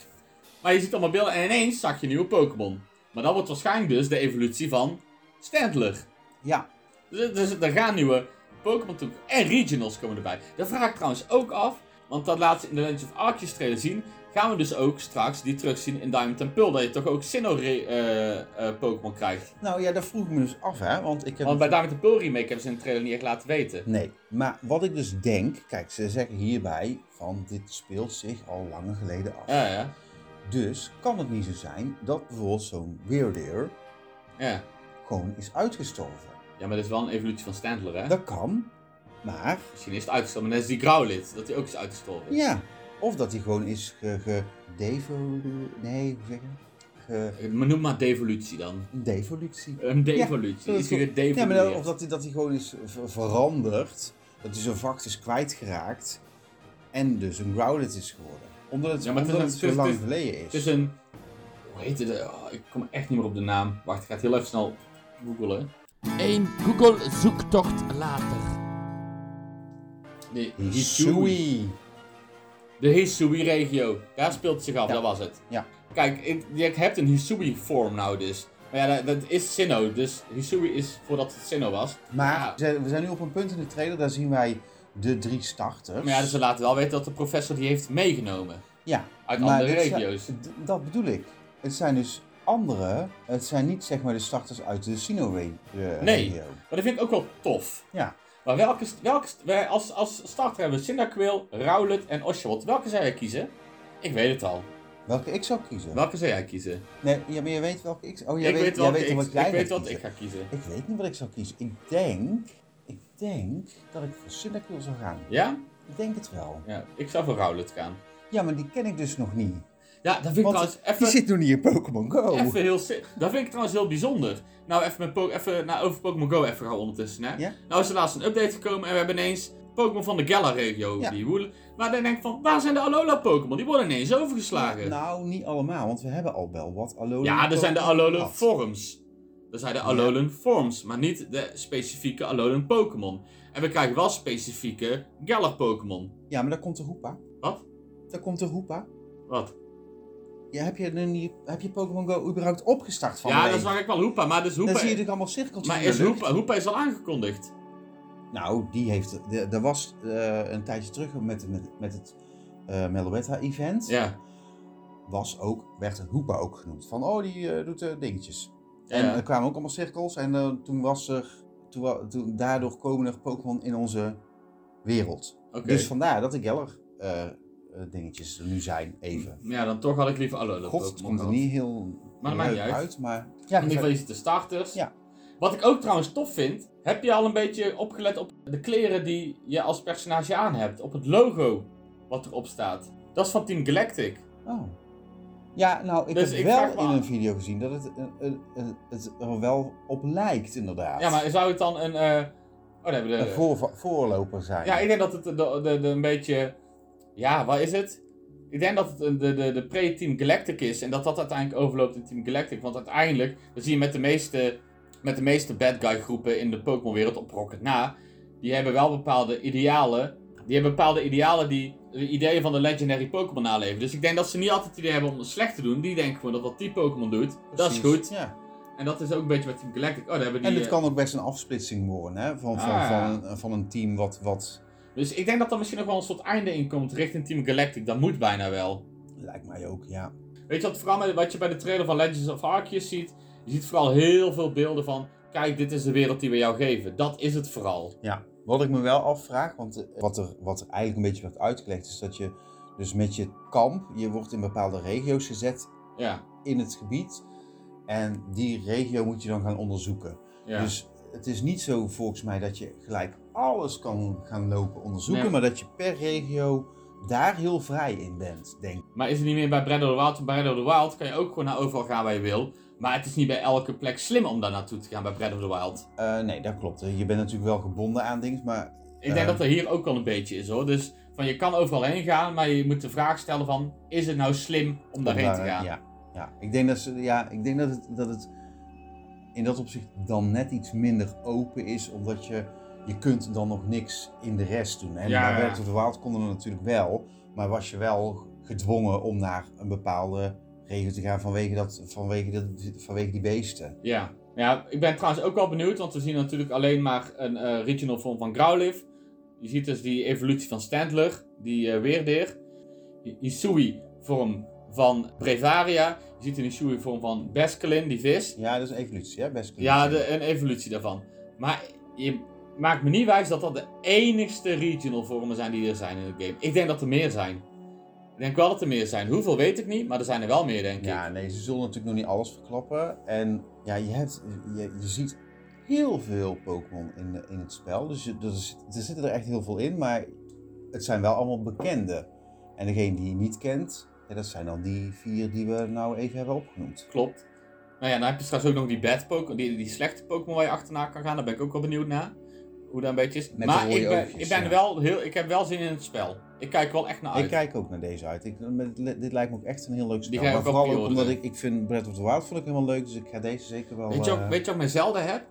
Speaker 1: Maar je ziet allemaal beelden en ineens zag je een nieuwe Pokémon. Maar dat wordt waarschijnlijk dus de evolutie van Stantler.
Speaker 2: Ja,
Speaker 1: Dus, dus er gaan nieuwe Pokémon toe. En regionals komen erbij. Dat vraag ik trouwens ook af. Want dat laat ze in de Legend of Arceus trailer zien. Gaan we dus ook straks die terugzien in Diamond and Pearl. Dat je toch ook Sinnoh re- eh, eh, Pokémon krijgt.
Speaker 2: Nou ja, dat vroeg ik me dus af, hè. Want ik heb
Speaker 1: Want bij Diamond and Pearl remake hebben ze in de trailer niet echt laten weten.
Speaker 2: Nee, maar wat ik dus denk, kijk, ze zeggen hierbij van dit speelt zich al lange geleden af.
Speaker 1: Ja, ja.
Speaker 2: Dus kan het niet zo zijn dat bijvoorbeeld zo'n Weirdeer
Speaker 1: Ja,
Speaker 2: gewoon is uitgestorven.
Speaker 1: ja maar dat is wel een evolutie van Standler, hè?
Speaker 2: Dat kan, maar
Speaker 1: Misschien is het uitgestorven. Maar net als die Growlithe, dat hij ook is uitgestorven.
Speaker 2: ja, of dat hij gewoon is ge... ge devo, nee, hoe zeg je? dat? Ge,
Speaker 1: Maar noem maar devolutie dan.
Speaker 2: devolutie.
Speaker 1: Een devolutie.
Speaker 2: dat
Speaker 1: is hij
Speaker 2: klopt.
Speaker 1: gedevolueerd?
Speaker 2: Ja, maar dat- of dat hij, dat hij gewoon is ver- veranderd, dat hij zijn vacht is kwijtgeraakt en dus een Growlithe is geworden. Omdat het,
Speaker 1: Ja, maar het is
Speaker 2: omdat
Speaker 1: een-
Speaker 2: het zo
Speaker 1: het is-
Speaker 2: lang
Speaker 1: het is-
Speaker 2: geleden is.
Speaker 1: Het is een. Hoe heet het? Oh, ik kom echt niet meer op de naam. Wacht, ik ga het heel even snel googelen.
Speaker 3: Een Google zoektocht later.
Speaker 1: De Hisui.
Speaker 2: Hisui.
Speaker 1: De Hisui-regio. Daar speelt het zich af,
Speaker 2: Ja.
Speaker 1: dat was het.
Speaker 2: Ja.
Speaker 1: Kijk, ik- je hebt een Hisui-vorm nou dus. Maar ja, dat, dat is Sinnoh. Dus Hisui is voordat het Sinnoh was.
Speaker 2: Maar
Speaker 1: Ja.
Speaker 2: we zijn- we zijn nu op een punt in de trailer, daar zien wij de drie starters.
Speaker 1: Maar ja, dus ze laten wel weten dat de professor die heeft meegenomen.
Speaker 2: Ja,
Speaker 1: Uit
Speaker 2: maar
Speaker 1: andere
Speaker 2: dit zijn-
Speaker 1: regio's.
Speaker 2: d- dat bedoel ik. Het zijn dus andere, het zijn niet zeg maar de starters uit de Sino-regio.
Speaker 1: Nee. Maar dat vind ik ook wel tof.
Speaker 2: Ja.
Speaker 1: Maar welke, welke wij als, als starter hebben we Cyndaquil, Rowlet en Oshawott. Welke zou jij kiezen? Ik weet het al.
Speaker 2: Welke ik zou kiezen?
Speaker 1: Welke zou jij kiezen?
Speaker 2: Nee, ja, maar je weet welke ik... Oh, jij
Speaker 1: ik weet,
Speaker 2: weet, jij
Speaker 1: welke
Speaker 2: weet
Speaker 1: ik,
Speaker 2: wat jij
Speaker 1: ik weet
Speaker 2: gaat
Speaker 1: wat ik
Speaker 2: kiezen.
Speaker 1: ga kiezen.
Speaker 2: Ik weet niet wat ik zou kiezen. Ik denk, ik denk dat ik voor Cyndaquil zou gaan.
Speaker 1: Ja?
Speaker 2: Ik denk het wel.
Speaker 1: Ja, ik zou voor Rowlet gaan.
Speaker 2: Ja, maar die ken ik dus nog niet.
Speaker 1: Ja, dat vind ik
Speaker 2: Want
Speaker 1: trouwens
Speaker 2: Die
Speaker 1: even,
Speaker 2: zit nog niet in Pokémon Go.
Speaker 1: even heel... si- Dat vind ik trouwens heel bijzonder. Nou, even, met po even nou, over Pokémon Go even gaan ondertussen, hè.
Speaker 2: Ja.
Speaker 1: Nou is er laatst een update gekomen en we hebben ineens Pokémon van de Gala-regio.
Speaker 2: Ja.
Speaker 1: Die woelen. Maar dan denk ik van, waar zijn de Alola-Pokémon? Die worden ineens overgeslagen.
Speaker 2: Nou, niet allemaal, want we hebben al wel wat Alolan.
Speaker 1: Ja, er zijn de
Speaker 2: Pokémon
Speaker 1: Alolan
Speaker 2: gehad.
Speaker 1: Forms. Er zijn de Alolan Forms, maar niet de specifieke Alolan Pokémon. En we krijgen wel specifieke Galar Pokémon.
Speaker 2: Ja, maar daar komt de Roepa.
Speaker 1: Wat?
Speaker 2: Daar komt de Roepa.
Speaker 1: Wat?
Speaker 2: Ja, heb je, nu niet- heb je Pokémon Go überhaupt opgestart van
Speaker 1: ja,
Speaker 2: de
Speaker 1: dat
Speaker 2: week?
Speaker 1: zag ik wel Hoepa, maar dus Hoepa...
Speaker 2: Dan zie je dus allemaal cirkeltjes
Speaker 1: maar
Speaker 2: in de
Speaker 1: is
Speaker 2: lucht.
Speaker 1: Hoepa, Hoepa is al aangekondigd.
Speaker 2: Nou, die heeft... de- Er was eh, een tijdje terug met, met, met het eh Meloetta-event.
Speaker 1: Ja.
Speaker 2: Was ook, werd Hoepa ook genoemd. Van, oh, die eh, doet eh, dingetjes. En eh,
Speaker 1: Ja.
Speaker 2: er kwamen ook allemaal cirkels. En eh, toen was er... Toen, wa- toen, daardoor komen er Pokémon in onze wereld.
Speaker 1: Oké.
Speaker 2: Dus vandaar dat de Geller eh, eh, dingetjes er nu zijn, even.
Speaker 1: Ja, dan toch had ik liever Alolan
Speaker 2: God, het
Speaker 1: Pokémon.
Speaker 2: komt er
Speaker 1: gehad.
Speaker 2: niet heel
Speaker 1: Maar dat maakt
Speaker 2: leuk
Speaker 1: niet uit.
Speaker 2: maar... Ja,
Speaker 1: In ieder geval is het de starters.
Speaker 2: Ja.
Speaker 1: Wat ik ook trouwens tof vind, heb je al een beetje opgelet op de kleren die je als personage aan hebt? Op het logo wat erop staat. Dat is van Team Galactic.
Speaker 2: Oh. Ja, nou, ik
Speaker 1: Dus
Speaker 2: heb
Speaker 1: ik
Speaker 2: wel
Speaker 1: vraag me
Speaker 2: in
Speaker 1: af-
Speaker 2: een video gezien dat het, eh, eh, eh, het er wel op lijkt, inderdaad.
Speaker 1: Ja, maar zou het dan een... eh, Oh, nee, de...
Speaker 2: Een voor, voorloper zijn.
Speaker 1: Ja, ik denk dat het de, de, de, een beetje... Ja, wat is het? Ik denk dat het een- de, de, de pre-Team Galactic is. En dat dat uiteindelijk overloopt in Team Galactic. Want uiteindelijk, dat zie je met de meeste, met de meeste bad guy groepen in de Pokémon wereld op Rocket na. Die hebben wel bepaalde idealen. Die hebben bepaalde idealen die de ideeën van de legendary Pokémon naleven. Dus ik denk dat ze niet altijd het idee hebben om het slecht te doen. Die denken gewoon dat wat die Pokémon doet, dat is
Speaker 2: Precies,
Speaker 1: goed.
Speaker 2: Ja.
Speaker 1: En dat is ook een beetje met Team Galactic. Oh, daar hebben die...
Speaker 2: En het
Speaker 1: eh,
Speaker 2: kan ook best een afsplitsing worden, hè? Van, van,
Speaker 1: Ah.
Speaker 2: van, een, van een team wat, wat...
Speaker 1: Dus ik denk dat er misschien nog wel een soort einde in komt richting Team Galactic. Dat moet bijna wel.
Speaker 2: Lijkt mij ook, ja.
Speaker 1: Weet je wat, vooral met- wat je bij de trailer van Legends of Arceus ziet? Je ziet vooral heel veel beelden van... Kijk, dit is de wereld die we jou geven. Dat is het vooral.
Speaker 2: Ja, wat ik me wel afvraag, want eh, wat er, wat er eigenlijk een beetje werd uitgelegd, is dat je dus met je kamp, je wordt in bepaalde regio's gezet
Speaker 1: Ja,
Speaker 2: in het gebied. En die regio moet je dan gaan onderzoeken.
Speaker 1: ja.
Speaker 2: Dus het is niet zo volgens mij dat je gelijk alles kan gaan lopen onderzoeken,
Speaker 1: Nee.
Speaker 2: maar dat je per regio daar heel vrij in bent, denk ik.
Speaker 1: Maar is het niet meer bij Breath of the Wild? Want Bij Breath of the Wild kan je ook gewoon naar overal gaan waar je wil. Maar het is niet bij elke plek slim om daar naartoe te gaan bij Breath of the Wild.
Speaker 2: Eh, nee, dat klopt. hè. Je bent natuurlijk wel gebonden aan dingen, maar
Speaker 1: Ik denk
Speaker 2: Ehm.
Speaker 1: dat er hier ook wel een beetje is hoor. Dus van je kan overal heen gaan, maar je moet de vraag stellen van... Is het nou slim om daarheen te
Speaker 2: Daar-
Speaker 1: gaan?
Speaker 2: Ja, ja. ik denk, dat, ze, ja, ik denk dat, het, dat het in dat opzicht dan net iets minder open is, omdat je, je kunt dan nog niks in de rest doen. En
Speaker 1: Ja,
Speaker 2: bij
Speaker 1: ja.
Speaker 2: Breath of the Wild konden we natuurlijk wel, maar was je wel gedwongen om naar een bepaalde regio te gaan vanwege, dat, vanwege, dat, vanwege die beesten.
Speaker 1: Ja. Ja, ik ben trouwens ook wel benieuwd, want we zien natuurlijk alleen maar een eh, regional vorm van Growlithe. Je ziet dus die evolutie van Standler, die eh Weerdeer. Die Isui vorm van Brevaria. Je ziet een Isui vorm van Basculin, die vis.
Speaker 2: Ja, dat is een evolutie, hè? Best
Speaker 1: Ja, de, een evolutie daarvan. Maar je maakt me niet wijs dat dat de enigste regional vormen zijn die er zijn in het game. Ik denk dat er meer zijn. Ik denk wel dat er meer zijn. Hoeveel weet ik niet, maar er zijn er wel meer, denk ik.
Speaker 2: Ja, nee, ze zullen natuurlijk nog niet alles verklappen. En ja, je, hebt, je, je ziet heel veel Pokémon in, de- in het spel. Dus je- er, zit- er zitten er echt heel veel in, maar het zijn wel allemaal bekende. En degene die je niet kent, ja, dat zijn dan die vier die we nou even hebben opgenoemd.
Speaker 1: Klopt. Nou ja, dan heb je straks ook nog die bad Pokémon, die, die slechte Pokémon waar je achterna kan gaan. Daar ben ik ook wel benieuwd naar. Hoe dat een beetje is.
Speaker 2: de
Speaker 1: maar
Speaker 2: rode
Speaker 1: ik ben,
Speaker 2: oogjes,
Speaker 1: ik ben
Speaker 2: ja.
Speaker 1: wel heel, ik heb wel zin in het spel. Ik kijk er wel echt naar uit.
Speaker 2: Ik kijk ook naar deze uit. Ik, met- dit lijkt me ook echt een heel leuk spel.
Speaker 1: ga ik
Speaker 2: Maar
Speaker 1: ook wel
Speaker 2: vooral ook
Speaker 1: pre-orderen.
Speaker 2: omdat ik, ik vind Breath of the Wild vond ik helemaal leuk, dus ik ga deze zeker wel...
Speaker 1: weet, je ook,
Speaker 2: eh,
Speaker 1: weet je wat ik met Zelda heb?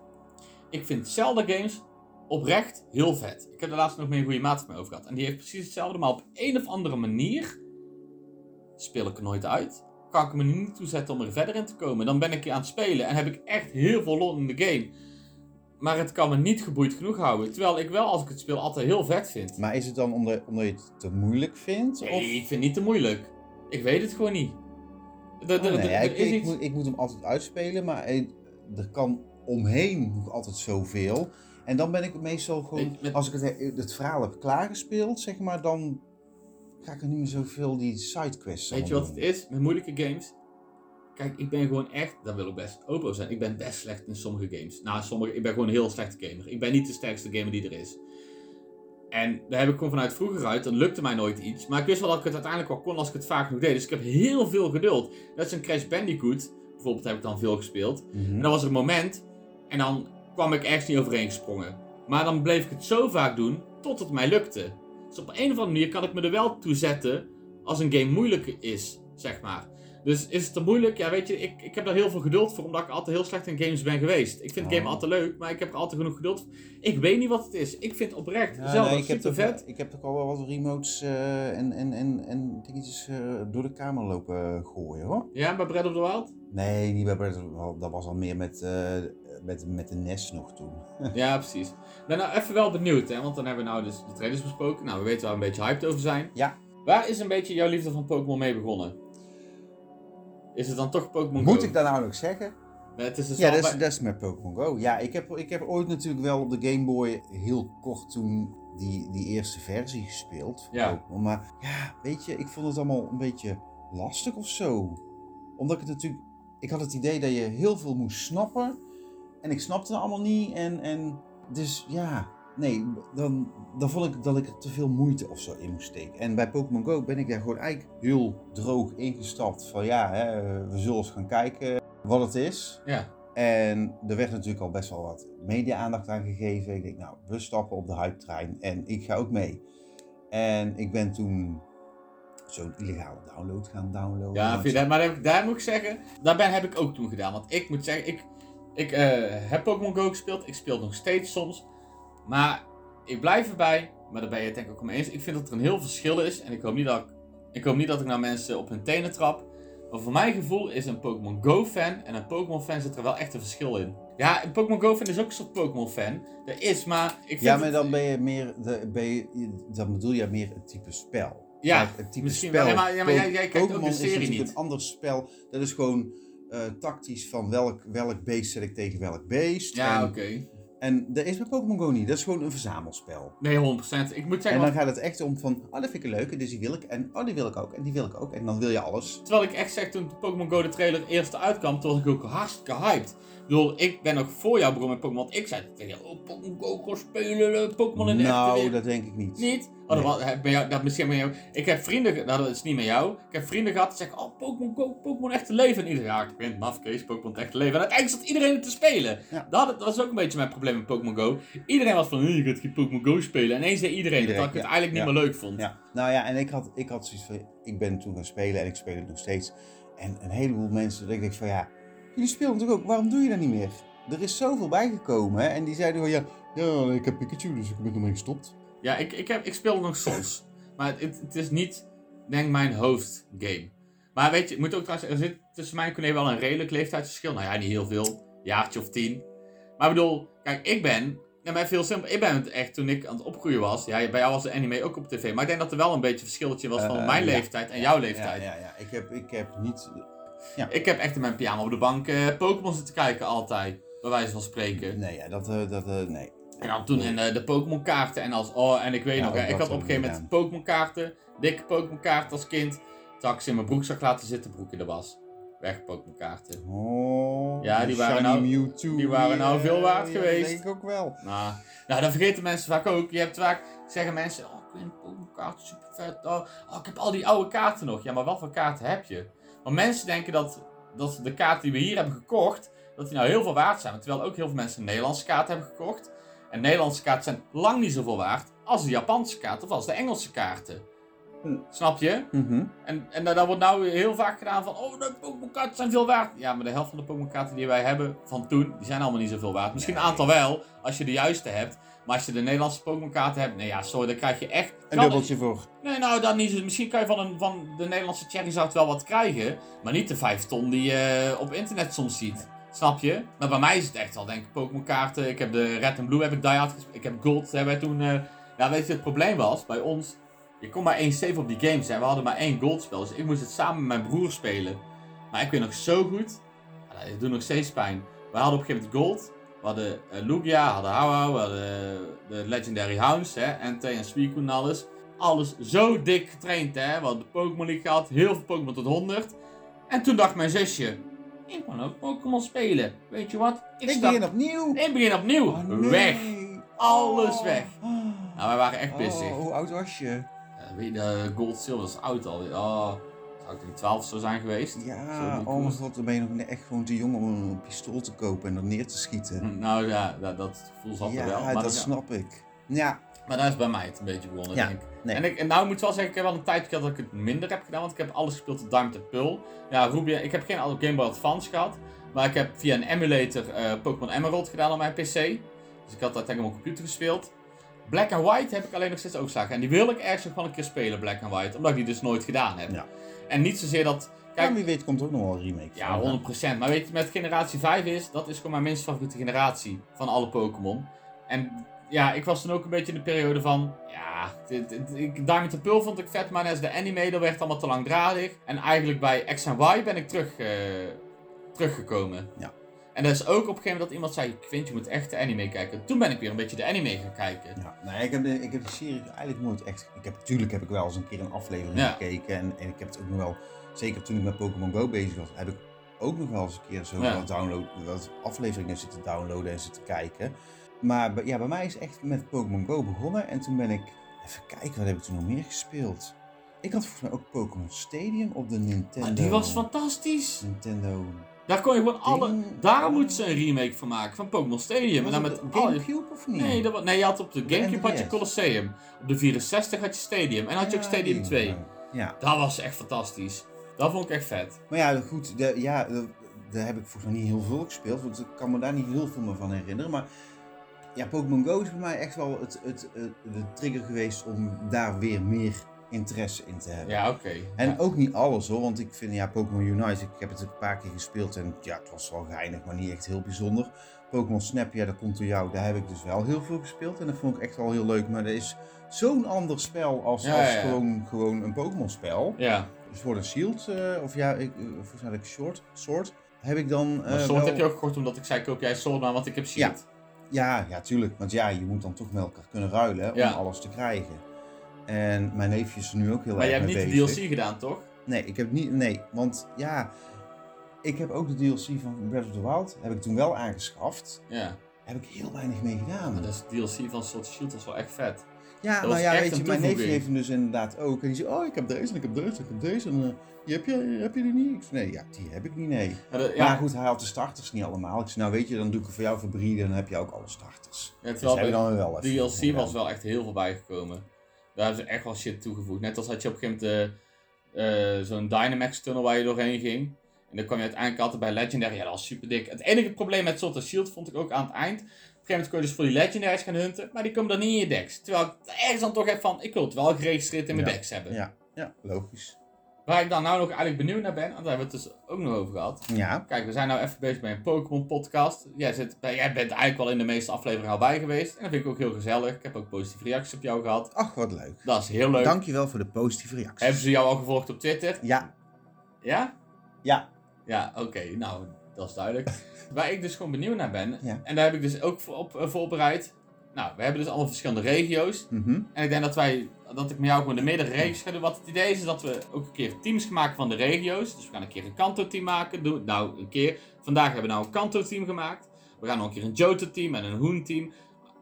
Speaker 1: Ik vind Zelda games oprecht heel vet. Ik heb er laatst nog meer een goede maat van mij over gehad. En die heeft precies hetzelfde, maar op een of andere manier speel ik er nooit uit. Kan ik me niet toezetten om er verder in te komen. Dan ben ik hier aan het spelen en heb ik echt heel veel lol in de game. Maar het kan me niet geboeid genoeg houden. Terwijl ik wel, als ik het speel, altijd heel vet vind.
Speaker 2: Maar is het dan omdat, omdat je het te moeilijk vindt?
Speaker 1: Nee,
Speaker 2: of...
Speaker 1: ik vind het niet te moeilijk. Ik weet het gewoon niet. Er- er-
Speaker 2: Ah,
Speaker 1: er-
Speaker 2: nee, ja,
Speaker 1: Oh, er
Speaker 2: ik,
Speaker 1: is
Speaker 2: ik
Speaker 1: iets-
Speaker 2: moet, ik moet hem altijd uitspelen, maar eh, er kan omheen nog altijd zoveel. En dan ben ik meestal gewoon,
Speaker 1: Met- met-
Speaker 2: als ik het, het verhaal heb klaargespeeld, zeg maar, dan ga ik er niet meer zoveel die sidequests
Speaker 1: Weet je
Speaker 2: allemaal
Speaker 1: wat het
Speaker 2: doen.
Speaker 1: is met moeilijke games? Kijk, ik ben gewoon echt, daar wil ik best open over zijn. Ik ben best slecht in sommige games. Nou, sommige, ik ben gewoon een heel slechte gamer. Ik ben niet de sterkste gamer die er is. En daar heb ik gewoon vanuit vroeger uit, dan lukte mij nooit iets. Maar ik wist wel dat ik het uiteindelijk wel kon als ik het vaak genoeg deed. Dus ik heb heel veel geduld. Net zo'n Crash Bandicoot, bijvoorbeeld, heb ik dan veel gespeeld.
Speaker 2: Mhm.
Speaker 1: En dan was er een moment en dan kwam ik ergens niet overheen gesprongen. Maar dan bleef ik het zo vaak doen tot het mij lukte. Dus op een of andere manier kan ik me er wel toe zetten als een game moeilijk is, zeg maar. Dus is het te moeilijk? Ja, weet je, ik, ik heb daar heel veel geduld voor, omdat ik altijd heel slecht in games ben geweest. Ik vind
Speaker 2: Oh.
Speaker 1: game altijd leuk, maar ik heb er altijd genoeg geduld voor. Ik weet niet wat het is. Ik vind oprecht
Speaker 2: Ja,
Speaker 1: zelf
Speaker 2: nee, ik, heb
Speaker 1: super
Speaker 2: toch,
Speaker 1: vet.
Speaker 2: ik heb toch al wel wat remotes eh, en, en, en, en dingetjes eh, door de kamer lopen eh, gooien hoor.
Speaker 1: Ja, bij Breath of the Wild?
Speaker 2: Nee, niet bij Breath of the Wild. dat was al meer met, eh, met, met de NES nog toen.
Speaker 1: ja, precies. Ik ben nou even wel benieuwd, hè, want dan hebben we nou dus de trailers besproken. Nou, we weten waar we een beetje hyped over zijn.
Speaker 2: Ja.
Speaker 1: Waar is een beetje jouw liefde van Pokémon mee begonnen? Is het dan toch Pokémon Go?
Speaker 2: Moet ik dat nou nog zeggen?
Speaker 1: Nee, het is dus
Speaker 2: Ja,
Speaker 1: wel
Speaker 2: dat is,
Speaker 1: bij-
Speaker 2: dat is met Pokémon Go. Ja, ik heb, ik heb ooit natuurlijk wel op de Game Boy heel kort toen die, die eerste versie gespeeld van
Speaker 1: Ja.
Speaker 2: Pokémon. Maar ja, weet je, ik vond het allemaal een beetje lastig of zo. Omdat ik het natuurlijk... Ik had het idee dat je heel veel moest snappen. En ik snapte het allemaal niet. En, en dus ja, nee, dan, dan vond ik dat ik er te veel moeite of zo in moest steken. En bij Pokémon Go ben ik daar gewoon eigenlijk heel droog ingestapt. Van ja, hè, we zullen eens gaan kijken wat het is.
Speaker 1: Ja.
Speaker 2: En er werd natuurlijk al best wel wat media-aandacht aan gegeven. Ik denk, nou, we stappen op de hype-trein en ik ga ook mee. En ik ben toen zo'n illegale download gaan downloaden.
Speaker 1: Ja,
Speaker 2: Want-
Speaker 1: vind je dat- maar daar, daar moet ik zeggen, daar ben, heb ik ook toen gedaan. Want ik moet zeggen, ik, ik eh, heb Pokémon Go gespeeld. Ik speel nog steeds soms. Maar ik blijf erbij, maar daar ben je het denk ik ook mee eens. Ik vind dat er een heel verschil is. En ik hoop niet dat ik, ik, hoop niet dat ik nou mensen op hun tenen trap. Maar voor mijn gevoel is een Pokémon Go-fan en een Pokémon-fan zit er wel echt een verschil in. Ja, een Pokémon Go-fan is ook een soort Pokémon-fan. Dat is, maar ik vind
Speaker 2: Ja, maar
Speaker 1: het-
Speaker 2: dan ben je meer, de, ben je, dan bedoel je meer het type spel.
Speaker 1: Ja,
Speaker 2: Kijk, het type
Speaker 1: misschien
Speaker 2: spel.
Speaker 1: wel. Ja, maar- ja, maar jij-
Speaker 2: Po-
Speaker 1: jij kijkt ook
Speaker 2: Pokémon
Speaker 1: de
Speaker 2: is
Speaker 1: serie
Speaker 2: natuurlijk
Speaker 1: niet.
Speaker 2: een ander spel. Dat is gewoon eh, tactisch van welk, welk beest zet ik tegen welk beest.
Speaker 1: Ja,
Speaker 2: en,
Speaker 1: oké.
Speaker 2: en dat is bij Pokémon Go niet. Dat is gewoon een verzamelspel.
Speaker 1: Nee, 100%. Ik moet zeggen,
Speaker 2: en
Speaker 1: want-
Speaker 2: dan gaat het echt om van, oh dat vind ik een leuke, dus die wil ik. En oh die wil ik ook, en die wil ik ook. En dan wil je alles.
Speaker 1: Terwijl ik echt zeg, toen de Pokémon Go de trailer eerst uitkwam, toen was ik ook hartstikke hyped. Ik bedoel, ik ben ook voor jou begonnen met Pokémon. want Ik zei tegen jou, oh, Pokémon Go kan spelen, eh, Pokémon in de echte
Speaker 2: nou,
Speaker 1: wereld.
Speaker 2: dat denk ik niet.
Speaker 1: Niet? Oh, dat,
Speaker 2: Nee.
Speaker 1: was- eh, bij jou, dat misschien bij jou. Ik heb vrienden, ge- nou, dat is niet met jou. Ik heb vrienden gehad die zeggen, oh, Pokémon Go, Pokémon echte leven. En iedereen, ja, ik vind het maf, Kees, Pokémon het echte leven. En uiteindelijk zat iedereen het te spelen.
Speaker 2: Ja.
Speaker 1: Dat, dat was ook een beetje mijn probleem met Pokémon Go. Iedereen was van, "Eh, je kunt geen Pokémon Go spelen. En eens zei iedereen,
Speaker 2: Iedereen,
Speaker 1: dat ik
Speaker 2: ja.
Speaker 1: het eigenlijk niet
Speaker 2: Ja.
Speaker 1: meer leuk vond.
Speaker 2: Ja. Nou ja, en ik had, ik had zoiets van, ik ben toen gaan spelen en ik speel het nog steeds. En een heleboel mensen, dat ik denk van ja, jullie spelen natuurlijk ook, waarom doe je dat niet meer? Er is zoveel bijgekomen hè? en die zeiden van ja, ja, ik heb Pikachu, dus ik ben ermee gestopt.
Speaker 1: Ja, ik, ik, heb, ik speel nog soms. Maar het, het is niet, denk mijn hoofdgame. Maar weet je, ik moet ook trouwens, er zit tussen mij en Corné wel een redelijk leeftijdsverschil. Nou ja, niet heel veel. jaartje of tien. Maar ik bedoel, kijk, ik ben, en mij veel simpel, ik ben het echt toen ik aan het opgroeien was. Ja, bij jou was de anime ook op tv, maar ik denk dat er wel een beetje een verschilletje was van
Speaker 2: Eh,
Speaker 1: mijn
Speaker 2: ja.
Speaker 1: leeftijd en jouw
Speaker 2: Ja,
Speaker 1: leeftijd.
Speaker 2: ja, ja. Ik, heb, ik heb niet.
Speaker 1: Ik heb echt in mijn pyjama op de bank eh, Pokémon zitten kijken altijd, bij wijze van spreken.
Speaker 2: Nee, ja, dat. eh, dat eh, nee.
Speaker 1: En dan toen en, eh, de Pokémon kaarten en als, oh, en ik weet
Speaker 2: Ja,
Speaker 1: nog,
Speaker 2: ook
Speaker 1: hè, ik
Speaker 2: dat
Speaker 1: had op een
Speaker 2: ook,
Speaker 1: gegeven
Speaker 2: ja.
Speaker 1: moment Pokémon kaarten, dikke Pokémon kaarten als kind. Toen had ik ze in mijn broekzak laten zitten, broek in de was. Weg Pokémon kaarten.
Speaker 2: Oh,
Speaker 1: Ja,
Speaker 2: de
Speaker 1: die waren
Speaker 2: shiny
Speaker 1: nou-
Speaker 2: Mewtwo,
Speaker 1: die waren nou
Speaker 2: eh,
Speaker 1: veel waard
Speaker 2: ja,
Speaker 1: geweest.
Speaker 2: Dat denk ik ook wel.
Speaker 1: Nou, nou, dat vergeten mensen vaak ook. Je hebt vaak, zeggen mensen, oh, ik vind Pokémon kaarten super vet. Oh, oh, ik heb al die oude kaarten nog. Ja, maar wat voor kaarten heb je? Want mensen denken dat, dat de kaarten die we hier hebben gekocht, dat die nou heel veel waard zijn. Terwijl ook heel veel mensen een Nederlandse kaart hebben gekocht. En Nederlandse kaarten zijn lang niet zoveel waard als de Japanse kaart of als de Engelse kaarten.
Speaker 2: Hm.
Speaker 1: Snap je?
Speaker 2: Mhm.
Speaker 1: En, en daar wordt nou heel vaak gedaan van, oh, de Pokémon-kaarten zijn veel waard. Ja, maar de helft van de Pokémon-kaarten die wij hebben van toen, die zijn allemaal niet zoveel waard. Misschien een
Speaker 2: Nee.
Speaker 1: aantal wel, als je de juiste hebt. Maar als je de Nederlandse Pokémon-kaarten hebt, nee ja, sorry, dan krijg je echt...
Speaker 2: Een
Speaker 1: kan-
Speaker 2: dubbeltje voor.
Speaker 1: Nee, nou, dan niet. zo- Misschien kan je van, een, van de Nederlandse Charizard wel wat krijgen, maar niet de vijf ton die je eh, op internet soms ziet. Snap je? Maar bij mij is het echt al, denk ik, Pokémon-kaarten. Ik heb de Red en Blue, heb ik Diehard gespeeld. Ik heb Gold, hebben wij toen... eh, nou, weet je, het probleem was, bij ons... Je kon maar één save op die games en we hadden maar één goldspel. Dus ik moest het samen met mijn broer spelen. Maar ik weet nog zo goed... Nou, dat doet nog steeds pijn. We hadden op een gegeven moment gold. We hadden eh, Lugia, we hadden Hauhau, we hadden eh, de Legendary Hounds, hè. NT en Suicune en alles. Alles zo dik getraind, hè. We hadden de Pokémon League gehad, heel veel Pokémon tot 100. En toen dacht mijn zusje... Ik kan ook Pokémon spelen. Weet je wat?
Speaker 2: Ik,
Speaker 1: stap-
Speaker 2: begin opnieuw.
Speaker 1: ik begin opnieuw.
Speaker 2: Oh, nee.
Speaker 1: Weg. Alles
Speaker 2: Oh.
Speaker 1: weg.
Speaker 2: Oh.
Speaker 1: Nou, wij waren echt pissig.
Speaker 2: hoe oud was je?
Speaker 1: Eh, weet je, eh, Gold Silver is oud al. Oh, zou ik denk 12 zo zijn geweest? Zo
Speaker 2: Ja,
Speaker 1: die
Speaker 2: oh mijn
Speaker 1: koers.
Speaker 2: god, dan ben je nog ne- echt gewoon te jong om een pistool te kopen en dat neer te schieten.
Speaker 1: Nou ja, dat, dat gevoel zat
Speaker 2: ja,
Speaker 1: er wel. Maar
Speaker 2: dat,
Speaker 1: dat,
Speaker 2: snap ik. Ja,
Speaker 1: maar daar is bij mij het een beetje begonnen,
Speaker 2: Ja,
Speaker 1: denk ik.
Speaker 2: nee.
Speaker 1: En, ik. en nou ik moet wel zeggen, ik heb wel een tijdje gehad dat ik het minder heb gedaan. Want ik heb alles gespeeld tot Diamond en Pearl. Ja, Ruby, ik heb geen Game Boy Advance gehad. Maar ik heb via een emulator eh, Pokémon Emerald gedaan op mijn PC. Dus ik had dat tegen mijn computer gespeeld. Black and White heb ik alleen nog steeds overslagen. En die wil ik ergens nog wel een keer spelen, Black and White. Omdat ik die dus nooit gedaan heb.
Speaker 2: Ja.
Speaker 1: En niet zozeer dat...
Speaker 2: ja, wie weet komt er ook nog wel een remake
Speaker 1: Ja,
Speaker 2: van, hè?
Speaker 1: 100%. Maar weet je, met generatie 5 is, dat is gewoon mijn minst favoriete generatie van alle Pokémon. En ja, ik was toen ook een beetje in de periode van, ja, dit, dit- ik, Diamond en Pearl vond ik vet, maar net als de anime, dat werd allemaal te langdradig. En eigenlijk bij X en Y ben ik terug, eh, teruggekomen.
Speaker 2: Ja.
Speaker 1: En dat is ook op een gegeven moment dat iemand zei, Quint, je moet echt de anime kijken. Toen ben ik weer een beetje de anime gaan kijken.
Speaker 2: Ja, nee, ik heb, de, ik heb de serie eigenlijk nooit echt... Ik heb, tuurlijk heb ik wel eens een keer een aflevering
Speaker 1: Ja.
Speaker 2: gekeken. En, en ik heb het ook nog wel... Zeker toen ik met Pokémon Go bezig was, heb ik ook nog wel eens een keer zo
Speaker 1: Ja.
Speaker 2: wat, download, wat afleveringen zitten downloaden en zitten kijken. Maar bij- ja, bij mij is echt met Pokémon Go begonnen. En toen ben ik... Even kijken, wat heb ik toen nog meer gespeeld? Ik had volgens mij ook Pokémon Stadium op de Nintendo.
Speaker 1: Maar Ah, die was fantastisch.
Speaker 2: Nintendo.
Speaker 1: Daar kon je gewoon alle...
Speaker 2: Ding.
Speaker 1: Daar moeten ze een remake van maken, van Pokémon Stadium. En
Speaker 2: Was
Speaker 1: dan
Speaker 2: het
Speaker 1: met al je-
Speaker 2: Gamecube of niet?
Speaker 1: Nee, dat, wa- nee, je had op de Gamecube had je
Speaker 2: NES.
Speaker 1: Colosseum. Op de 64 had je Stadium. En had je ook
Speaker 2: Ja,
Speaker 1: Stadium
Speaker 2: die.
Speaker 1: 2.
Speaker 2: Ja.
Speaker 1: Dat was echt fantastisch. Dat vond ik echt vet.
Speaker 2: Maar ja, goed, de, ja, de- daar heb ik volgens mij niet heel veel gespeeld, want ik kan me daar niet heel veel meer van herinneren. Maar ja, Pokémon Go is voor mij echt wel het, het, het- de trigger geweest om daar weer meer interesse in te hebben.
Speaker 1: Ja, oké.
Speaker 2: En
Speaker 1: Ja.
Speaker 2: ook niet alles hoor, want ik vind ja, Pokémon Unite, ik heb het een paar keer gespeeld en ja, het was wel geinig, maar niet echt heel bijzonder. Pokémon Snap, ja, dat komt door jou, daar heb ik dus wel heel veel gespeeld en dat vond ik echt wel heel leuk. Maar dat is zo'n ander spel als,
Speaker 1: Ja,
Speaker 2: als
Speaker 1: ja, ja.
Speaker 2: Gewoon, gewoon een Pokémon spel.
Speaker 1: Ja,
Speaker 2: Sword and Shield, Dus eh, of ja, ik, eh, volgens mij had ik Sword, Sword, heb ik dan... eh,
Speaker 1: maar Sword
Speaker 2: wel-
Speaker 1: heb je ook gekocht omdat ik zei, koop jij Sword maar, want ik heb Shield.
Speaker 2: Ja, ja, tuurlijk, want ja, je moet dan toch met elkaar kunnen ruilen hè, om
Speaker 1: Ja.
Speaker 2: alles te krijgen. En mijn neefje is er nu ook heel
Speaker 1: maar
Speaker 2: erg
Speaker 1: jij hebt
Speaker 2: mee
Speaker 1: niet de
Speaker 2: bezig.
Speaker 1: DLC gedaan, toch?
Speaker 2: Nee, ik heb niet, nee, want ja, ik heb ook de DLC van Breath of the Wild, heb ik toen wel aangeschaft.
Speaker 1: Ja.
Speaker 2: Heb ik heel weinig mee gedaan.
Speaker 1: Maar dat is DLC van Sword Shield, dat is wel echt vet.
Speaker 2: Ja,
Speaker 1: Dat
Speaker 2: nou
Speaker 1: was
Speaker 2: ja,
Speaker 1: echt
Speaker 2: weet je,
Speaker 1: een
Speaker 2: mijn neefje
Speaker 1: toevoeging.
Speaker 2: heeft hem dus inderdaad ook. En die zei, oh, ik heb deze, en ik heb deze, en ik heb deze. En eh, die heb je, heb je die niet? Ik zei, nee, ja, die heb ik niet, nee.
Speaker 1: Maar dat-
Speaker 2: Maar
Speaker 1: ja,
Speaker 2: goed, hij had de starters niet allemaal. Ik zei, nou weet je, dan doe ik er voor jou voor breeden en dan heb je ook alle starters.
Speaker 1: ja,
Speaker 2: Dus heb
Speaker 1: terwijl
Speaker 2: je
Speaker 1: bij
Speaker 2: dan wel even.
Speaker 1: DLC E was wel echt heel veel bijgekomen. Daar hebben ze echt wel shit toegevoegd. Net als had je op een gegeven moment eh, eh, zo'n Dynamax-tunnel waar je doorheen ging. En dan kwam je uiteindelijk altijd bij Legendary. Ja, dat was super dik. Het enige probleem met Sword and Shield vond ik ook aan het eind. Op een gegeven moment kon je dus voor die Legendaries gaan hunten, maar die komen dan niet in je decks. Terwijl ik ergens dan toch heb van, ik wil het wel geregistreerd in mijn
Speaker 2: Ja.
Speaker 1: decks hebben.
Speaker 2: Ja, ja, logisch.
Speaker 1: Waar ik dan nou nog eigenlijk benieuwd naar ben, want daar hebben we het dus ook nog over gehad.
Speaker 2: Ja.
Speaker 1: Kijk, we zijn nou even bezig met een Pokémon-podcast. Jij, zit bij- jij bent eigenlijk wel in de meeste afleveringen al bij geweest. En dat vind ik ook heel gezellig. Ik heb ook positieve reacties op jou gehad.
Speaker 2: Ach, wat leuk.
Speaker 1: Dat is heel leuk.
Speaker 2: Dankjewel voor de positieve reacties.
Speaker 1: Hebben ze jou al gevolgd op Twitter?
Speaker 2: Ja,
Speaker 1: Ja?
Speaker 2: ja.
Speaker 1: Ja, oké. Nou, dat is duidelijk. Waar ik dus gewoon benieuwd naar ben,
Speaker 2: Ja.
Speaker 1: en daar heb ik dus ook voor op eh, voorbereid. Nou, we hebben dus allemaal verschillende regio's.
Speaker 2: Mhm.
Speaker 1: En ik denk dat wij, dat ik met jou gewoon de meerdere regio's ga doen. Wat het idee is, is dat we ook een keer teams gaan maken van de regio's. Dus we gaan een keer een Kanto-team maken. Doe, nou, een keer. Vandaag hebben we nou een Kanto-team gemaakt. We gaan nog een keer een Johto-team en een Hoen-team.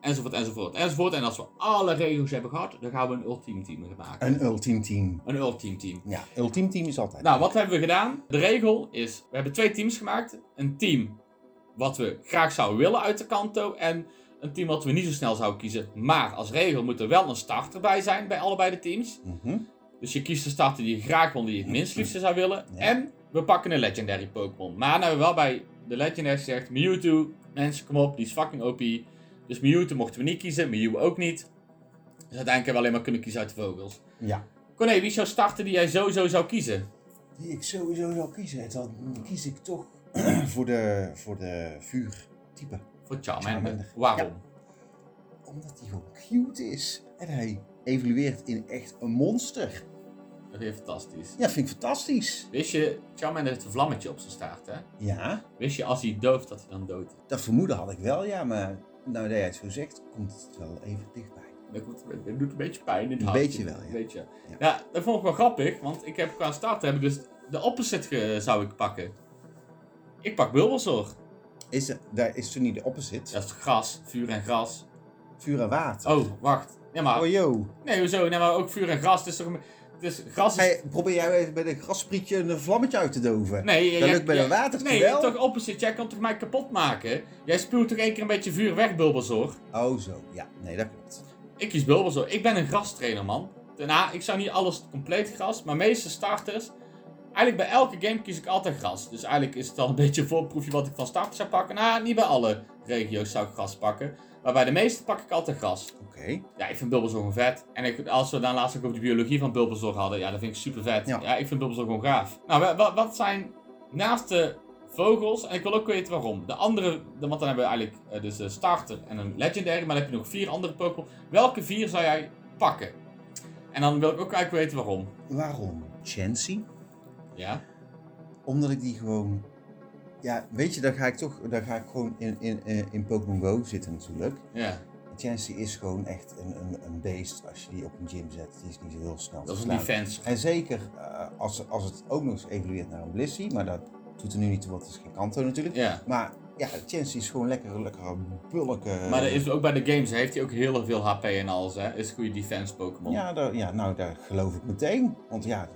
Speaker 1: Enzovoort, enzovoort, enzovoort. En als we alle regio's hebben gehad, dan gaan we een ultiem-team maken.
Speaker 2: Een ultiem team.
Speaker 1: Een ultiem-team.
Speaker 2: Ja, ultiem team is altijd.
Speaker 1: Nou, wat hebben we gedaan? De regel is, we hebben twee teams gemaakt. Een team wat we graag zouden willen uit de kanto. En een team wat we niet zo snel zouden kiezen. Maar als regel moet er wel een starter bij zijn bij allebei de teams.
Speaker 2: Mhm.
Speaker 1: Dus je kiest de starter die je graag wil, die je het minst liefste zou willen.
Speaker 2: Ja.
Speaker 1: En we pakken een legendary Pokémon. Maar nou hebben we wel bij de legendary gezegd, Mewtwo, mensen kom op, die is fucking OP. Dus Mewtwo mochten we niet kiezen, Mew ook niet. Dus uiteindelijk hebben we alleen maar kunnen kiezen uit de vogels.
Speaker 2: Ja.
Speaker 1: Corné, wie is jouw starter die jij sowieso zou kiezen?
Speaker 2: Die ik sowieso zou kiezen, dan kies ik toch voor de, voor de vuurtype.
Speaker 1: Voor Charmander.
Speaker 2: Charmander.
Speaker 1: Waarom?
Speaker 2: Omdat hij gewoon cute is. En hij evolueert in echt een monster.
Speaker 1: Dat is fantastisch.
Speaker 2: Ja, vind ik fantastisch.
Speaker 1: Wist je, Charmander heeft een vlammetje op zijn staart, hè?
Speaker 2: Ja,
Speaker 1: Wist je als hij dooft dat hij dan dood is?
Speaker 2: dat vermoeden had ik wel, ja. Maar nou dat jij het zo zegt, komt het wel even dichtbij.
Speaker 1: Dat doet- dat doet een beetje pijn in het
Speaker 2: Een
Speaker 1: hartje.
Speaker 2: beetje wel, ja.
Speaker 1: Een beetje.
Speaker 2: Ja.
Speaker 1: Ja. dat vond ik wel grappig, want ik heb qua starter heb ik dus de opposite ge- zou ik pakken. Ik pak Bulbasaur.
Speaker 2: Is er, daar is toen niet de opposite.
Speaker 1: Dat is gras, vuur en gras.
Speaker 2: Vuur en water.
Speaker 1: Oh, wacht. Ja,
Speaker 2: Oh,
Speaker 1: maar...
Speaker 2: yo.
Speaker 1: Nee, hoezo? Nee, maar ook vuur en gras. Het is toch... een- Het is, gras is...
Speaker 2: Hey, probeer jij even bij de grassprietje een vlammetje uit te doven.
Speaker 1: Nee,
Speaker 2: dat
Speaker 1: jij-
Speaker 2: lukt bij
Speaker 1: jij-
Speaker 2: de water
Speaker 1: Nee,
Speaker 2: wel.
Speaker 1: toch opposite. Jij kan toch mij kapot maken? Jij spuwt toch één keer een beetje vuur weg, Bulbasaur?
Speaker 2: Oh, zo. Ja, nee, dat klopt.
Speaker 1: Ik kies Bulbasaur. Ik ben een grastrainer, man. Daarna, ik zou niet alles compleet gras, maar meeste starters... Eigenlijk bij elke game kies ik altijd gras. Dus eigenlijk is het al een beetje een voorproefje wat ik van starters zou pakken. Nou, niet bij alle regio's zou ik gras pakken. Maar bij de meeste pak ik altijd gras.
Speaker 2: Oké.
Speaker 1: Ja, ik vind Bulbasaur gewoon vet. En ik, als we dan laatst ook over de biologie van Bulbasaur hadden, ja, dat vind ik super vet.
Speaker 2: Ja.
Speaker 1: Ja, ik vind Bulbasaur gewoon gaaf. Nou, wa- wa- wat zijn naast de vogels, en ik wil ook weten waarom. De andere, de- want dan hebben we eigenlijk eh, dus een starter en een legendary, maar dan heb je nog vier andere Pokémon. Welke vier zou jij pakken? En dan wil ik ook eigenlijk weten waarom.
Speaker 2: Waarom? Chancy?
Speaker 1: Ja?
Speaker 2: Omdat ik die gewoon. Ja, weet je, daar ga ik toch. Daar ga ik gewoon in, in, eh, in Pokémon Go zitten natuurlijk.
Speaker 1: Ja.
Speaker 2: Chansey is gewoon echt een, een, een beest als je die op een gym zet. Die is niet zo heel snel.
Speaker 1: Dat is
Speaker 2: te
Speaker 1: een
Speaker 2: slaan.
Speaker 1: defense.
Speaker 2: En zeker eh, als, als het ook nog eens evolueert naar een Blissey. Maar dat doet er nu niet toe, want het is geen kanto natuurlijk.
Speaker 1: Ja.
Speaker 2: Maar ja, Chansey is gewoon lekker, lekker bulke. eh,
Speaker 1: Maar dat is ook bij de games heeft hij ook heel veel HP en alles, hè? Is een goede defense Pokémon.
Speaker 2: Ja, daar, ja, nou daar geloof ik meteen. Want ja,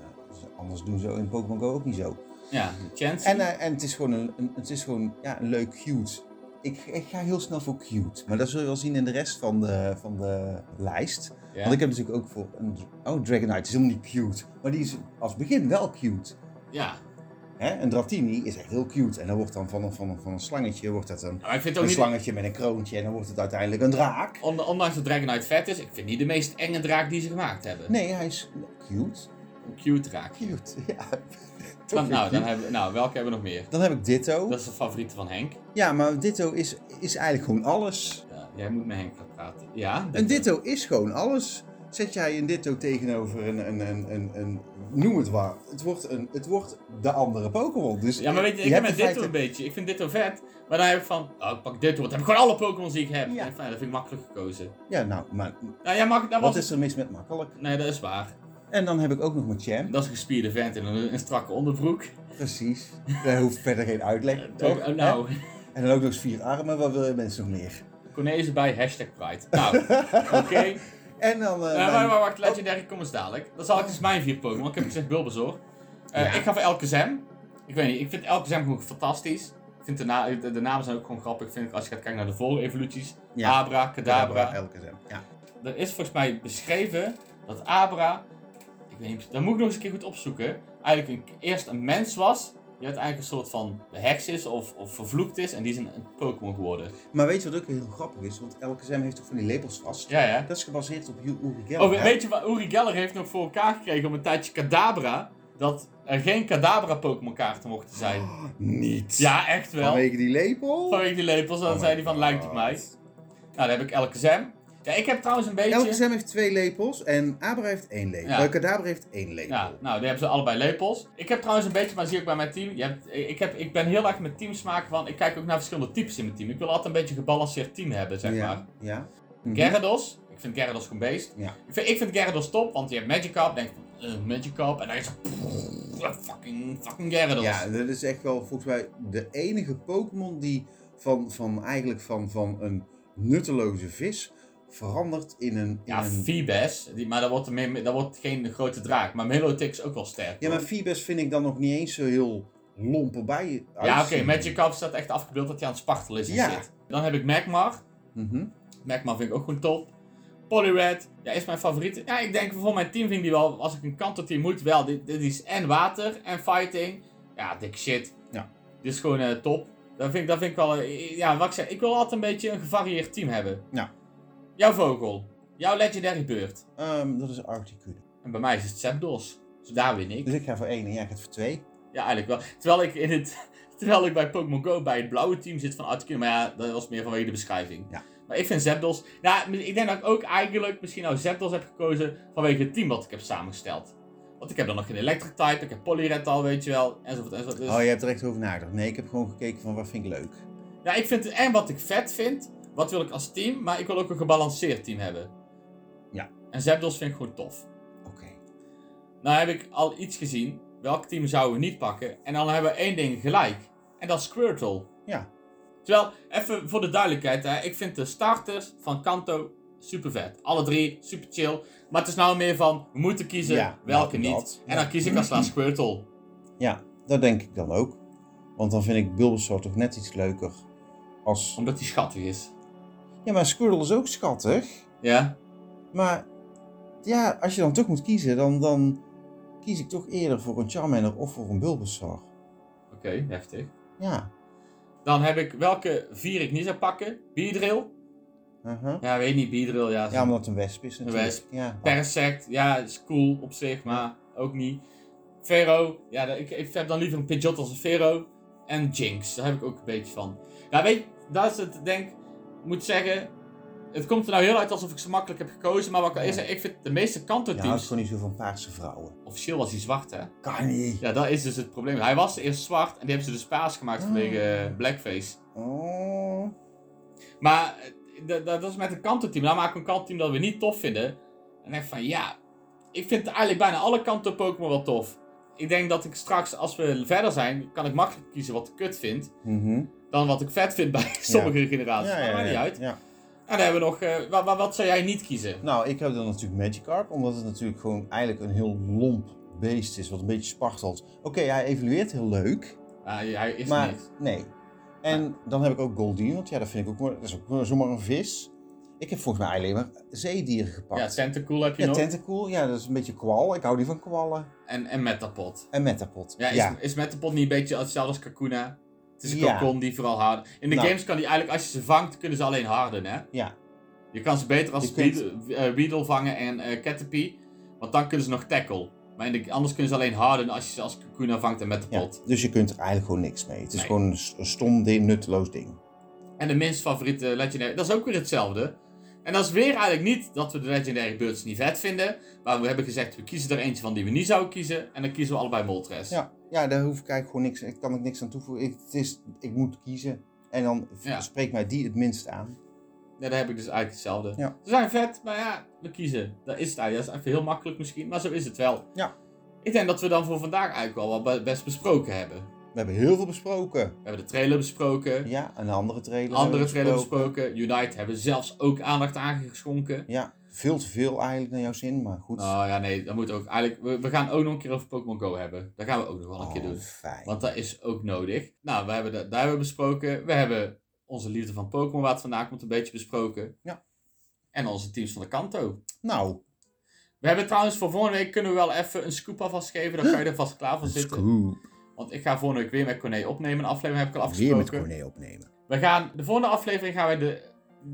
Speaker 2: anders doen ze in Pokémon Go ook niet zo.
Speaker 1: Ja, Chance.
Speaker 2: En, eh, en het is gewoon, een, een- het is gewoon ja, een leuk cute. Ik, ik ga heel snel voor cute. Maar dat zul je wel zien in de rest van de, van de lijst.
Speaker 1: Ja.
Speaker 2: Want ik heb natuurlijk ook voor een... Oh, Dragonite is helemaal niet cute. Maar die is als begin wel cute.
Speaker 1: ja.
Speaker 2: Hè? Een Dratini is echt heel cute. En dan wordt dan van een, van een, van een slangetje wordt dat een,
Speaker 1: Maar Nou, ik vind het
Speaker 2: een
Speaker 1: ook niet...
Speaker 2: slangetje met een kroontje. En dan wordt het uiteindelijk een draak.
Speaker 1: On- Ondanks dat Dragonite vet is, ik vind niet de meest enge draak die ze gemaakt hebben.
Speaker 2: Nee, hij is cute.
Speaker 1: Een cute draak.
Speaker 2: Cute, ja. Toch
Speaker 1: Dan,
Speaker 2: weer
Speaker 1: nou,
Speaker 2: cute.
Speaker 1: dan hebben we, nou, welke hebben we nog meer?
Speaker 2: dan heb ik Ditto.
Speaker 1: Dat is de favoriete van Henk.
Speaker 2: Ja, maar Ditto is, is eigenlijk gewoon alles.
Speaker 1: Ja, jij moet met Henk gaan praten. Ja?
Speaker 2: Een ditto is gewoon alles. Zet jij een ditto tegenover een, een, een, een, een- noem het waar. Het wordt, een, het wordt de andere Pokémon. Dus
Speaker 1: Ja, maar weet je, ik
Speaker 2: hebt
Speaker 1: heb met
Speaker 2: in
Speaker 1: Ditto een
Speaker 2: feite-
Speaker 1: beetje. Ik vind Ditto vet. Maar dan heb ik van, oh, ik pak Ditto, want dan heb ik gewoon alle Pokémon die ik heb.
Speaker 2: Ja.
Speaker 1: Ja. dat vind ik makkelijk gekozen.
Speaker 2: Ja, nou, maar
Speaker 1: Nou, jij mag, dat
Speaker 2: wat
Speaker 1: was...
Speaker 2: is er mis met makkelijk?
Speaker 1: Nee, dat is waar.
Speaker 2: En dan heb ik ook nog mijn Champ.
Speaker 1: Dat is een gespierde vent in een, een strakke onderbroek.
Speaker 2: Precies. Daar hoeft verder geen uitleg.
Speaker 1: Ook-
Speaker 2: Toch?
Speaker 1: oh, nou,
Speaker 2: Hè? En dan ook nog eens vier armen. Wat wil je mensen nog meer?
Speaker 1: Corné is erbij, hashtag Pride. Nou, oké.
Speaker 2: En dan... eh,
Speaker 1: Eh,
Speaker 2: dan-
Speaker 1: wacht, wacht, wacht, legendary comments dadelijk. Dat zal ik dus mijn vier Pokémon. Ik heb gezegd Bulbasaur. Eh,
Speaker 2: Ja.
Speaker 1: Ik ga voor Elkezem. Ik weet niet, ik vind Elkezem gewoon fantastisch. Ik vind de, na- de, de namen zijn ook gewoon grappig. Vind ik, als je gaat kijken naar de vorige evoluties.
Speaker 2: Ja.
Speaker 1: Abra, Kadabra.
Speaker 2: Elke zin. Ja.
Speaker 1: Er is volgens mij beschreven dat Abra... Ik weet niet, dat moet ik nog eens een keer goed opzoeken. Eigenlijk een, eerst een mens was. Die uiteindelijk een soort van heks is of, of vervloekt is. En die is een, een Pokémon geworden.
Speaker 2: Maar weet je wat ook heel grappig is? Want elke zin heeft toch van die lepels vast?
Speaker 1: Ja, ja.
Speaker 2: Dat is gebaseerd op Uri Geller.
Speaker 1: Oh,
Speaker 2: hè?
Speaker 1: weet je wat? Uri Geller heeft nog voor elkaar gekregen om een tijdje Kadabra dat er geen Kadabra-Pokémon kaarten mochten zijn.
Speaker 2: Oh, Niet.
Speaker 1: Ja, echt wel.
Speaker 2: Vanwege die lepel?
Speaker 1: Vanwege die lepels, dan
Speaker 2: Oh
Speaker 1: zei
Speaker 2: my
Speaker 1: hij van lijkt op
Speaker 2: God.
Speaker 1: mij. Nou, dan heb ik Elke Zem. Ja, ik heb trouwens een beetje...
Speaker 2: Elke Sam heeft twee lepels en Abra heeft één lepel.
Speaker 1: Ja.
Speaker 2: Eh, Kadabra heeft één lepel.
Speaker 1: Ja, nou, die hebben ze allebei lepels. Ik heb trouwens een beetje, maar zie ik bij mijn team. Je hebt, ik, heb, ik ben heel erg met teamsmaak van. Ik kijk ook naar verschillende types in mijn team. Ik wil altijd een beetje een gebalanceerd team hebben, zeg maar.
Speaker 2: ja. ja. Mhm.
Speaker 1: Gyarados. Ik vind Gyarados gewoon beest.
Speaker 2: Ja.
Speaker 1: Ik, vind, ik vind Gyarados top, want je hebt Magikarp. Denk van, eh, Magikarp. En dan is het fucking, fucking Gyarados.
Speaker 2: Ja, dat is echt wel volgens mij de enige Pokémon die van, van eigenlijk van, van een nutteloze vis verandert in een.
Speaker 1: Ja,
Speaker 2: in een...
Speaker 1: Feebas, die, maar dat wordt, er meer, dat wordt geen grote draak. Maar Melotix ook wel sterk.
Speaker 2: ja, maar Phoebus vind ik dan nog niet eens zo heel lomp erbij.
Speaker 1: Ja, oké,
Speaker 2: uitzien.
Speaker 1: Magikarp staat echt afgebeeld dat hij aan het spartelen is en
Speaker 2: Ja.
Speaker 1: shit. Dan heb ik Magmar.
Speaker 2: Mhm.
Speaker 1: Magma vind ik ook gewoon top. Poliwrath, ja, is mijn favoriete. Ja, ik denk voor mijn team vind ik die wel, als ik een kantelteam moet, wel. Dit, dit is en water en fighting. Ja, dik shit.
Speaker 2: Ja.
Speaker 1: Dit is gewoon eh, top. Dat vind, ik, dat vind ik wel, eh, ja, wat ik zeg, ik wil altijd een beetje een gevarieerd team hebben.
Speaker 2: Ja.
Speaker 1: Jouw vogel, jouw legendary beurt.
Speaker 2: Ehm, dat is Articuno.
Speaker 1: En bij mij is het Zapdos. Dus daar win ik.
Speaker 2: Dus ik ga voor één en jij gaat voor twee.
Speaker 1: Ja, eigenlijk wel. Terwijl ik, in het, terwijl ik bij Pokémon Go bij het blauwe team zit van Articuno. Maar ja, dat was meer vanwege de beschrijving.
Speaker 2: Ja.
Speaker 1: Maar ik vind Zapdos... Nou, ik denk dat ik ook eigenlijk misschien nou Zapdos heb gekozen vanwege het team wat ik heb samengesteld. Want ik heb dan nog geen Electric-type, ik heb Poliwrath al, weet je wel, enzovoort, enzovoort. Dus,
Speaker 2: Oh, je hebt er echt over nagedacht. Nee, ik heb gewoon gekeken van wat vind ik leuk.
Speaker 1: Ja, nou, ik vind het en wat ik vet vind, wat wil ik als team, maar ik wil ook een gebalanceerd team hebben.
Speaker 2: Ja.
Speaker 1: En Zapdos vind ik gewoon tof.
Speaker 2: Oké.
Speaker 1: Nou heb ik al iets gezien, welk team zouden we niet pakken? En dan hebben we één ding gelijk, en dat is Squirtle.
Speaker 2: Ja.
Speaker 1: Terwijl, even voor de duidelijkheid, hè, ik vind de starters van Kanto super vet. Alle drie super chill. Maar het is nou meer van, we moeten kiezen
Speaker 2: Ja,
Speaker 1: welke
Speaker 2: nou,
Speaker 1: niet.
Speaker 2: dat.
Speaker 1: En dan kies ik als laatste Squirtle.
Speaker 2: Ja, dat denk ik dan ook. Want dan vind ik Bulbasaur toch net iets leuker als...
Speaker 1: Omdat hij schattig is.
Speaker 2: Ja, maar Squirtle is ook schattig.
Speaker 1: Ja?
Speaker 2: Maar ja, als je dan toch moet kiezen, dan, dan kies ik toch eerder voor een Charmander of voor een Bulbasaur.
Speaker 1: Oké, heftig.
Speaker 2: Ja.
Speaker 1: Dan heb ik welke vier ik niet zou pakken. Beedrill.
Speaker 2: uh-huh.
Speaker 1: Ja, weet niet, Beedrill. Ja,
Speaker 2: Ja, omdat het een wesp is natuurlijk.
Speaker 1: wesp.
Speaker 2: Ja.
Speaker 1: Persect. Ja, is cool op zich, maar ook niet. Vero. Ja, dat- ik, ik heb dan liever een Pidgeot als een Vero. En Jinx. Daar heb ik ook een beetje van. Ja, weet je, dat is het, denk ik, moet zeggen. Het komt er nou heel uit alsof ik ze makkelijk heb gekozen. Maar wat ik al eerst zei, ik vind de meeste
Speaker 2: Je houdt
Speaker 1: kantenteams...
Speaker 2: gewoon niet zo van paarse vrouwen.
Speaker 1: officieel was hij zwart, hè?
Speaker 2: Kan niet.
Speaker 1: Ja, dat is dus het probleem. Hij was eerst zwart en die hebben ze dus paars
Speaker 2: Ah.
Speaker 1: gemaakt vanwege eh, blackface.
Speaker 2: Oh.
Speaker 1: Maar eh, dat, dat dat is met een kantenteam. Nou maak ik een kantenteam dat we niet tof vinden. En echt van ja, ik vind eigenlijk bijna alle kanten Pokémon wel tof. Ik denk dat ik straks, als we verder zijn, kan ik makkelijk kiezen wat ik kut vind.
Speaker 2: Mhm.
Speaker 1: Dan wat ik vet vind bij sommige generaties. Maar maakt niet uit.
Speaker 2: ja.
Speaker 1: En dan hebben we nog, eh, wa- wa- wat zou jij niet kiezen?
Speaker 2: Nou, ik heb dan natuurlijk Magikarp, omdat het natuurlijk gewoon eigenlijk een heel lomp beest is, wat een beetje spartelt. Oké, hij evolueert heel leuk,
Speaker 1: Ah, hij is
Speaker 2: maar
Speaker 1: niks.
Speaker 2: nee. En dan heb ik ook Goldien, want ja, dat vind ik ook, maar- dat is ook maar zomaar een vis. Ik heb volgens mij alleen maar zeedieren gepakt.
Speaker 1: Ja, Tentacool heb je
Speaker 2: Ja,
Speaker 1: nog.
Speaker 2: tentacool, ja, dat is een beetje kwal. Ik hou niet van kwallen.
Speaker 1: En, en Metapod.
Speaker 2: En metapod.
Speaker 1: Ja, is, is Metapod niet een beetje hetzelfde als Kakuna? Het is een
Speaker 2: Ja.
Speaker 1: kokon die vooral hard. In de
Speaker 2: Nou.
Speaker 1: games kan die eigenlijk, als je ze vangt, kunnen ze alleen harden, hè?
Speaker 2: Ja.
Speaker 1: Je kan ze beter als
Speaker 2: Je kunt-
Speaker 1: Weedle- eh, Weedle vangen en eh Caterpie. Want dan kunnen ze nog tackle. Maar in de- anders kunnen ze alleen harden als je ze als Kakuna vangt en met de
Speaker 2: Ja,
Speaker 1: pot.
Speaker 2: Dus je kunt er eigenlijk gewoon niks mee. Het is
Speaker 1: Nee.
Speaker 2: gewoon een s- een stom, ding, nutteloos ding.
Speaker 1: En de minst favoriete legendary, dat is ook weer hetzelfde. En dat is weer eigenlijk niet dat we de legendary birds niet vet vinden. Maar we hebben gezegd, we kiezen er eentje van die we niet zouden kiezen. En dan kiezen we allebei Moltres.
Speaker 2: Ja, ja daar hoef ik eigenlijk gewoon niks, ik kan ik niks aan toevoegen. Ik, het is, ik moet kiezen. En dan v-
Speaker 1: Ja.
Speaker 2: spreekt mij die het minst aan.
Speaker 1: Ja, daar heb ik dus eigenlijk hetzelfde.
Speaker 2: Ja.
Speaker 1: Ze zijn vet, maar ja, we kiezen. Dat is het eigenlijk. Dat is even heel makkelijk misschien, maar zo is het wel.
Speaker 2: Ja.
Speaker 1: Ik denk dat we dan voor vandaag eigenlijk wel wat be- best besproken hebben.
Speaker 2: We hebben heel veel besproken.
Speaker 1: We hebben de trailer besproken.
Speaker 2: Ja, een andere trailer. hebben
Speaker 1: Andere
Speaker 2: we
Speaker 1: trailer besproken. Unite hebben zelfs ook aandacht aangeschonken.
Speaker 2: Ja, veel te veel eigenlijk naar jouw zin, maar goed.
Speaker 1: Nou ja, nee, dat moet ook. Eigenlijk, we, we gaan ook nog een keer over Pokémon Go hebben. Dat gaan we ook nog wel een keer
Speaker 2: Oh,
Speaker 1: doen.
Speaker 2: fijn.
Speaker 1: Want dat is ook nodig. Nou, we hebben dat, daar hebben we besproken. We hebben onze liefde van Pokémon, waar het vandaag komt, een beetje besproken.
Speaker 2: Ja.
Speaker 1: En onze teams van de Kanto.
Speaker 2: Nou,
Speaker 1: We hebben trouwens voor volgende week kunnen we wel even een scoop alvast geven. Dan kan je er vast klaar
Speaker 2: dus
Speaker 1: voor zitten.
Speaker 2: scoop.
Speaker 1: Want ik ga volgende week weer met Corné opnemen. Een aflevering heb ik al
Speaker 2: Weer met
Speaker 1: afgesproken.
Speaker 2: Corné opnemen.
Speaker 1: We gaan, de volgende aflevering gaan wij de...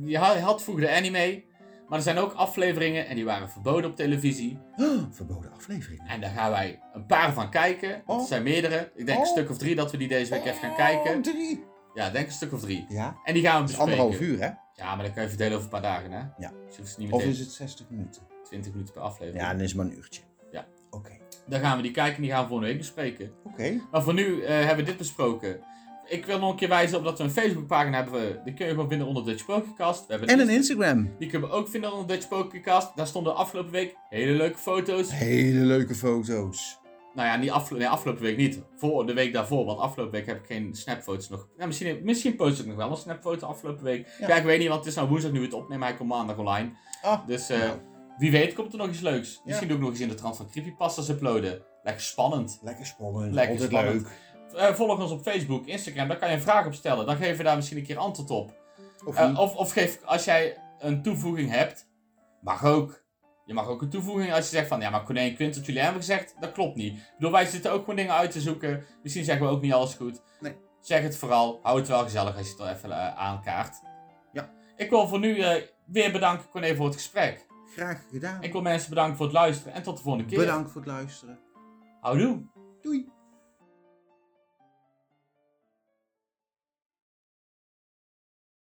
Speaker 1: Je had, had vroeger de anime. Maar er zijn ook afleveringen en die waren verboden op televisie.
Speaker 2: Oh, Verboden aflevering.
Speaker 1: En daar gaan wij een paar van kijken.
Speaker 2: Oh.
Speaker 1: Het zijn meerdere. Ik denk een
Speaker 2: Oh.
Speaker 1: stuk of drie dat we die deze week even gaan
Speaker 2: Oh,
Speaker 1: kijken.
Speaker 2: drie.
Speaker 1: Ja, ik denk een stuk of drie.
Speaker 2: Ja,
Speaker 1: En die gaan we
Speaker 2: dat is
Speaker 1: bespreken.
Speaker 2: anderhalf uur, hè?
Speaker 1: Ja, maar dan kan je verdelen over een paar dagen, hè?
Speaker 2: Ja.
Speaker 1: Dus je hoeft ze niet
Speaker 2: Of
Speaker 1: meteen
Speaker 2: is het 60 minuten?
Speaker 1: 20 minuten per aflevering.
Speaker 2: Ja, dan is het maar een uurtje.
Speaker 1: Ja.
Speaker 2: Oké.
Speaker 1: Dan gaan we die kijken en die gaan we volgende week bespreken.
Speaker 2: Oké.
Speaker 1: Maar voor nu eh, hebben we dit besproken. Ik wil nog een keer wijzen op dat we een Facebookpagina hebben. Die kun je gewoon vinden onder Dutch Pokercast. We hebben
Speaker 2: En een Instagram.
Speaker 1: Die kunnen we ook vinden onder Dutch Pokercast. Daar stonden afgelopen week hele leuke foto's.
Speaker 2: Hele leuke foto's.
Speaker 1: Nou ja, niet afgelo- nee, afgelopen week niet. Voor de week daarvoor. Want afgelopen week heb ik geen snapfoto's nog. Ja, misschien, misschien post ik nog wel een snapfoto afgelopen week.
Speaker 2: Ja.
Speaker 1: Ja. ik weet niet, want het is nou woensdag nu we het opnemen. Hij komt maandag online.
Speaker 2: Ah,
Speaker 1: Dus eh,
Speaker 2: Nou.
Speaker 1: wie weet komt er nog iets leuks. Misschien doe ik nog eens in de trant van Creepypastas uploaden. Lekker spannend.
Speaker 2: lekker spannend.
Speaker 1: Lekker
Speaker 2: Altijd
Speaker 1: spannend.
Speaker 2: leuk.
Speaker 1: Eh, volg ons op Facebook, Instagram. Daar kan je een vraag op stellen. Dan geven we daar misschien een keer antwoord op.
Speaker 2: Of
Speaker 1: Eh,
Speaker 2: niet?
Speaker 1: of, of geef, als jij een toevoeging hebt, mag ook. Je mag ook een toevoeging als je zegt van, ja, maar Corné en Quint, wat jullie hebben gezegd, dat klopt niet. Ik bedoel, wij zitten ook gewoon dingen uit te zoeken. Misschien zeggen we ook niet alles goed.
Speaker 2: Nee.
Speaker 1: Zeg het vooral. Hou het wel gezellig als je het al even eh, aankaart.
Speaker 2: Ja.
Speaker 1: Ik wil voor nu eh, weer bedanken, Corné, voor het gesprek.
Speaker 2: Graag gedaan.
Speaker 1: Ik wil mensen bedanken voor het luisteren en tot de volgende keer.
Speaker 2: Bedankt voor het luisteren.
Speaker 1: Houdoe.
Speaker 2: Doei.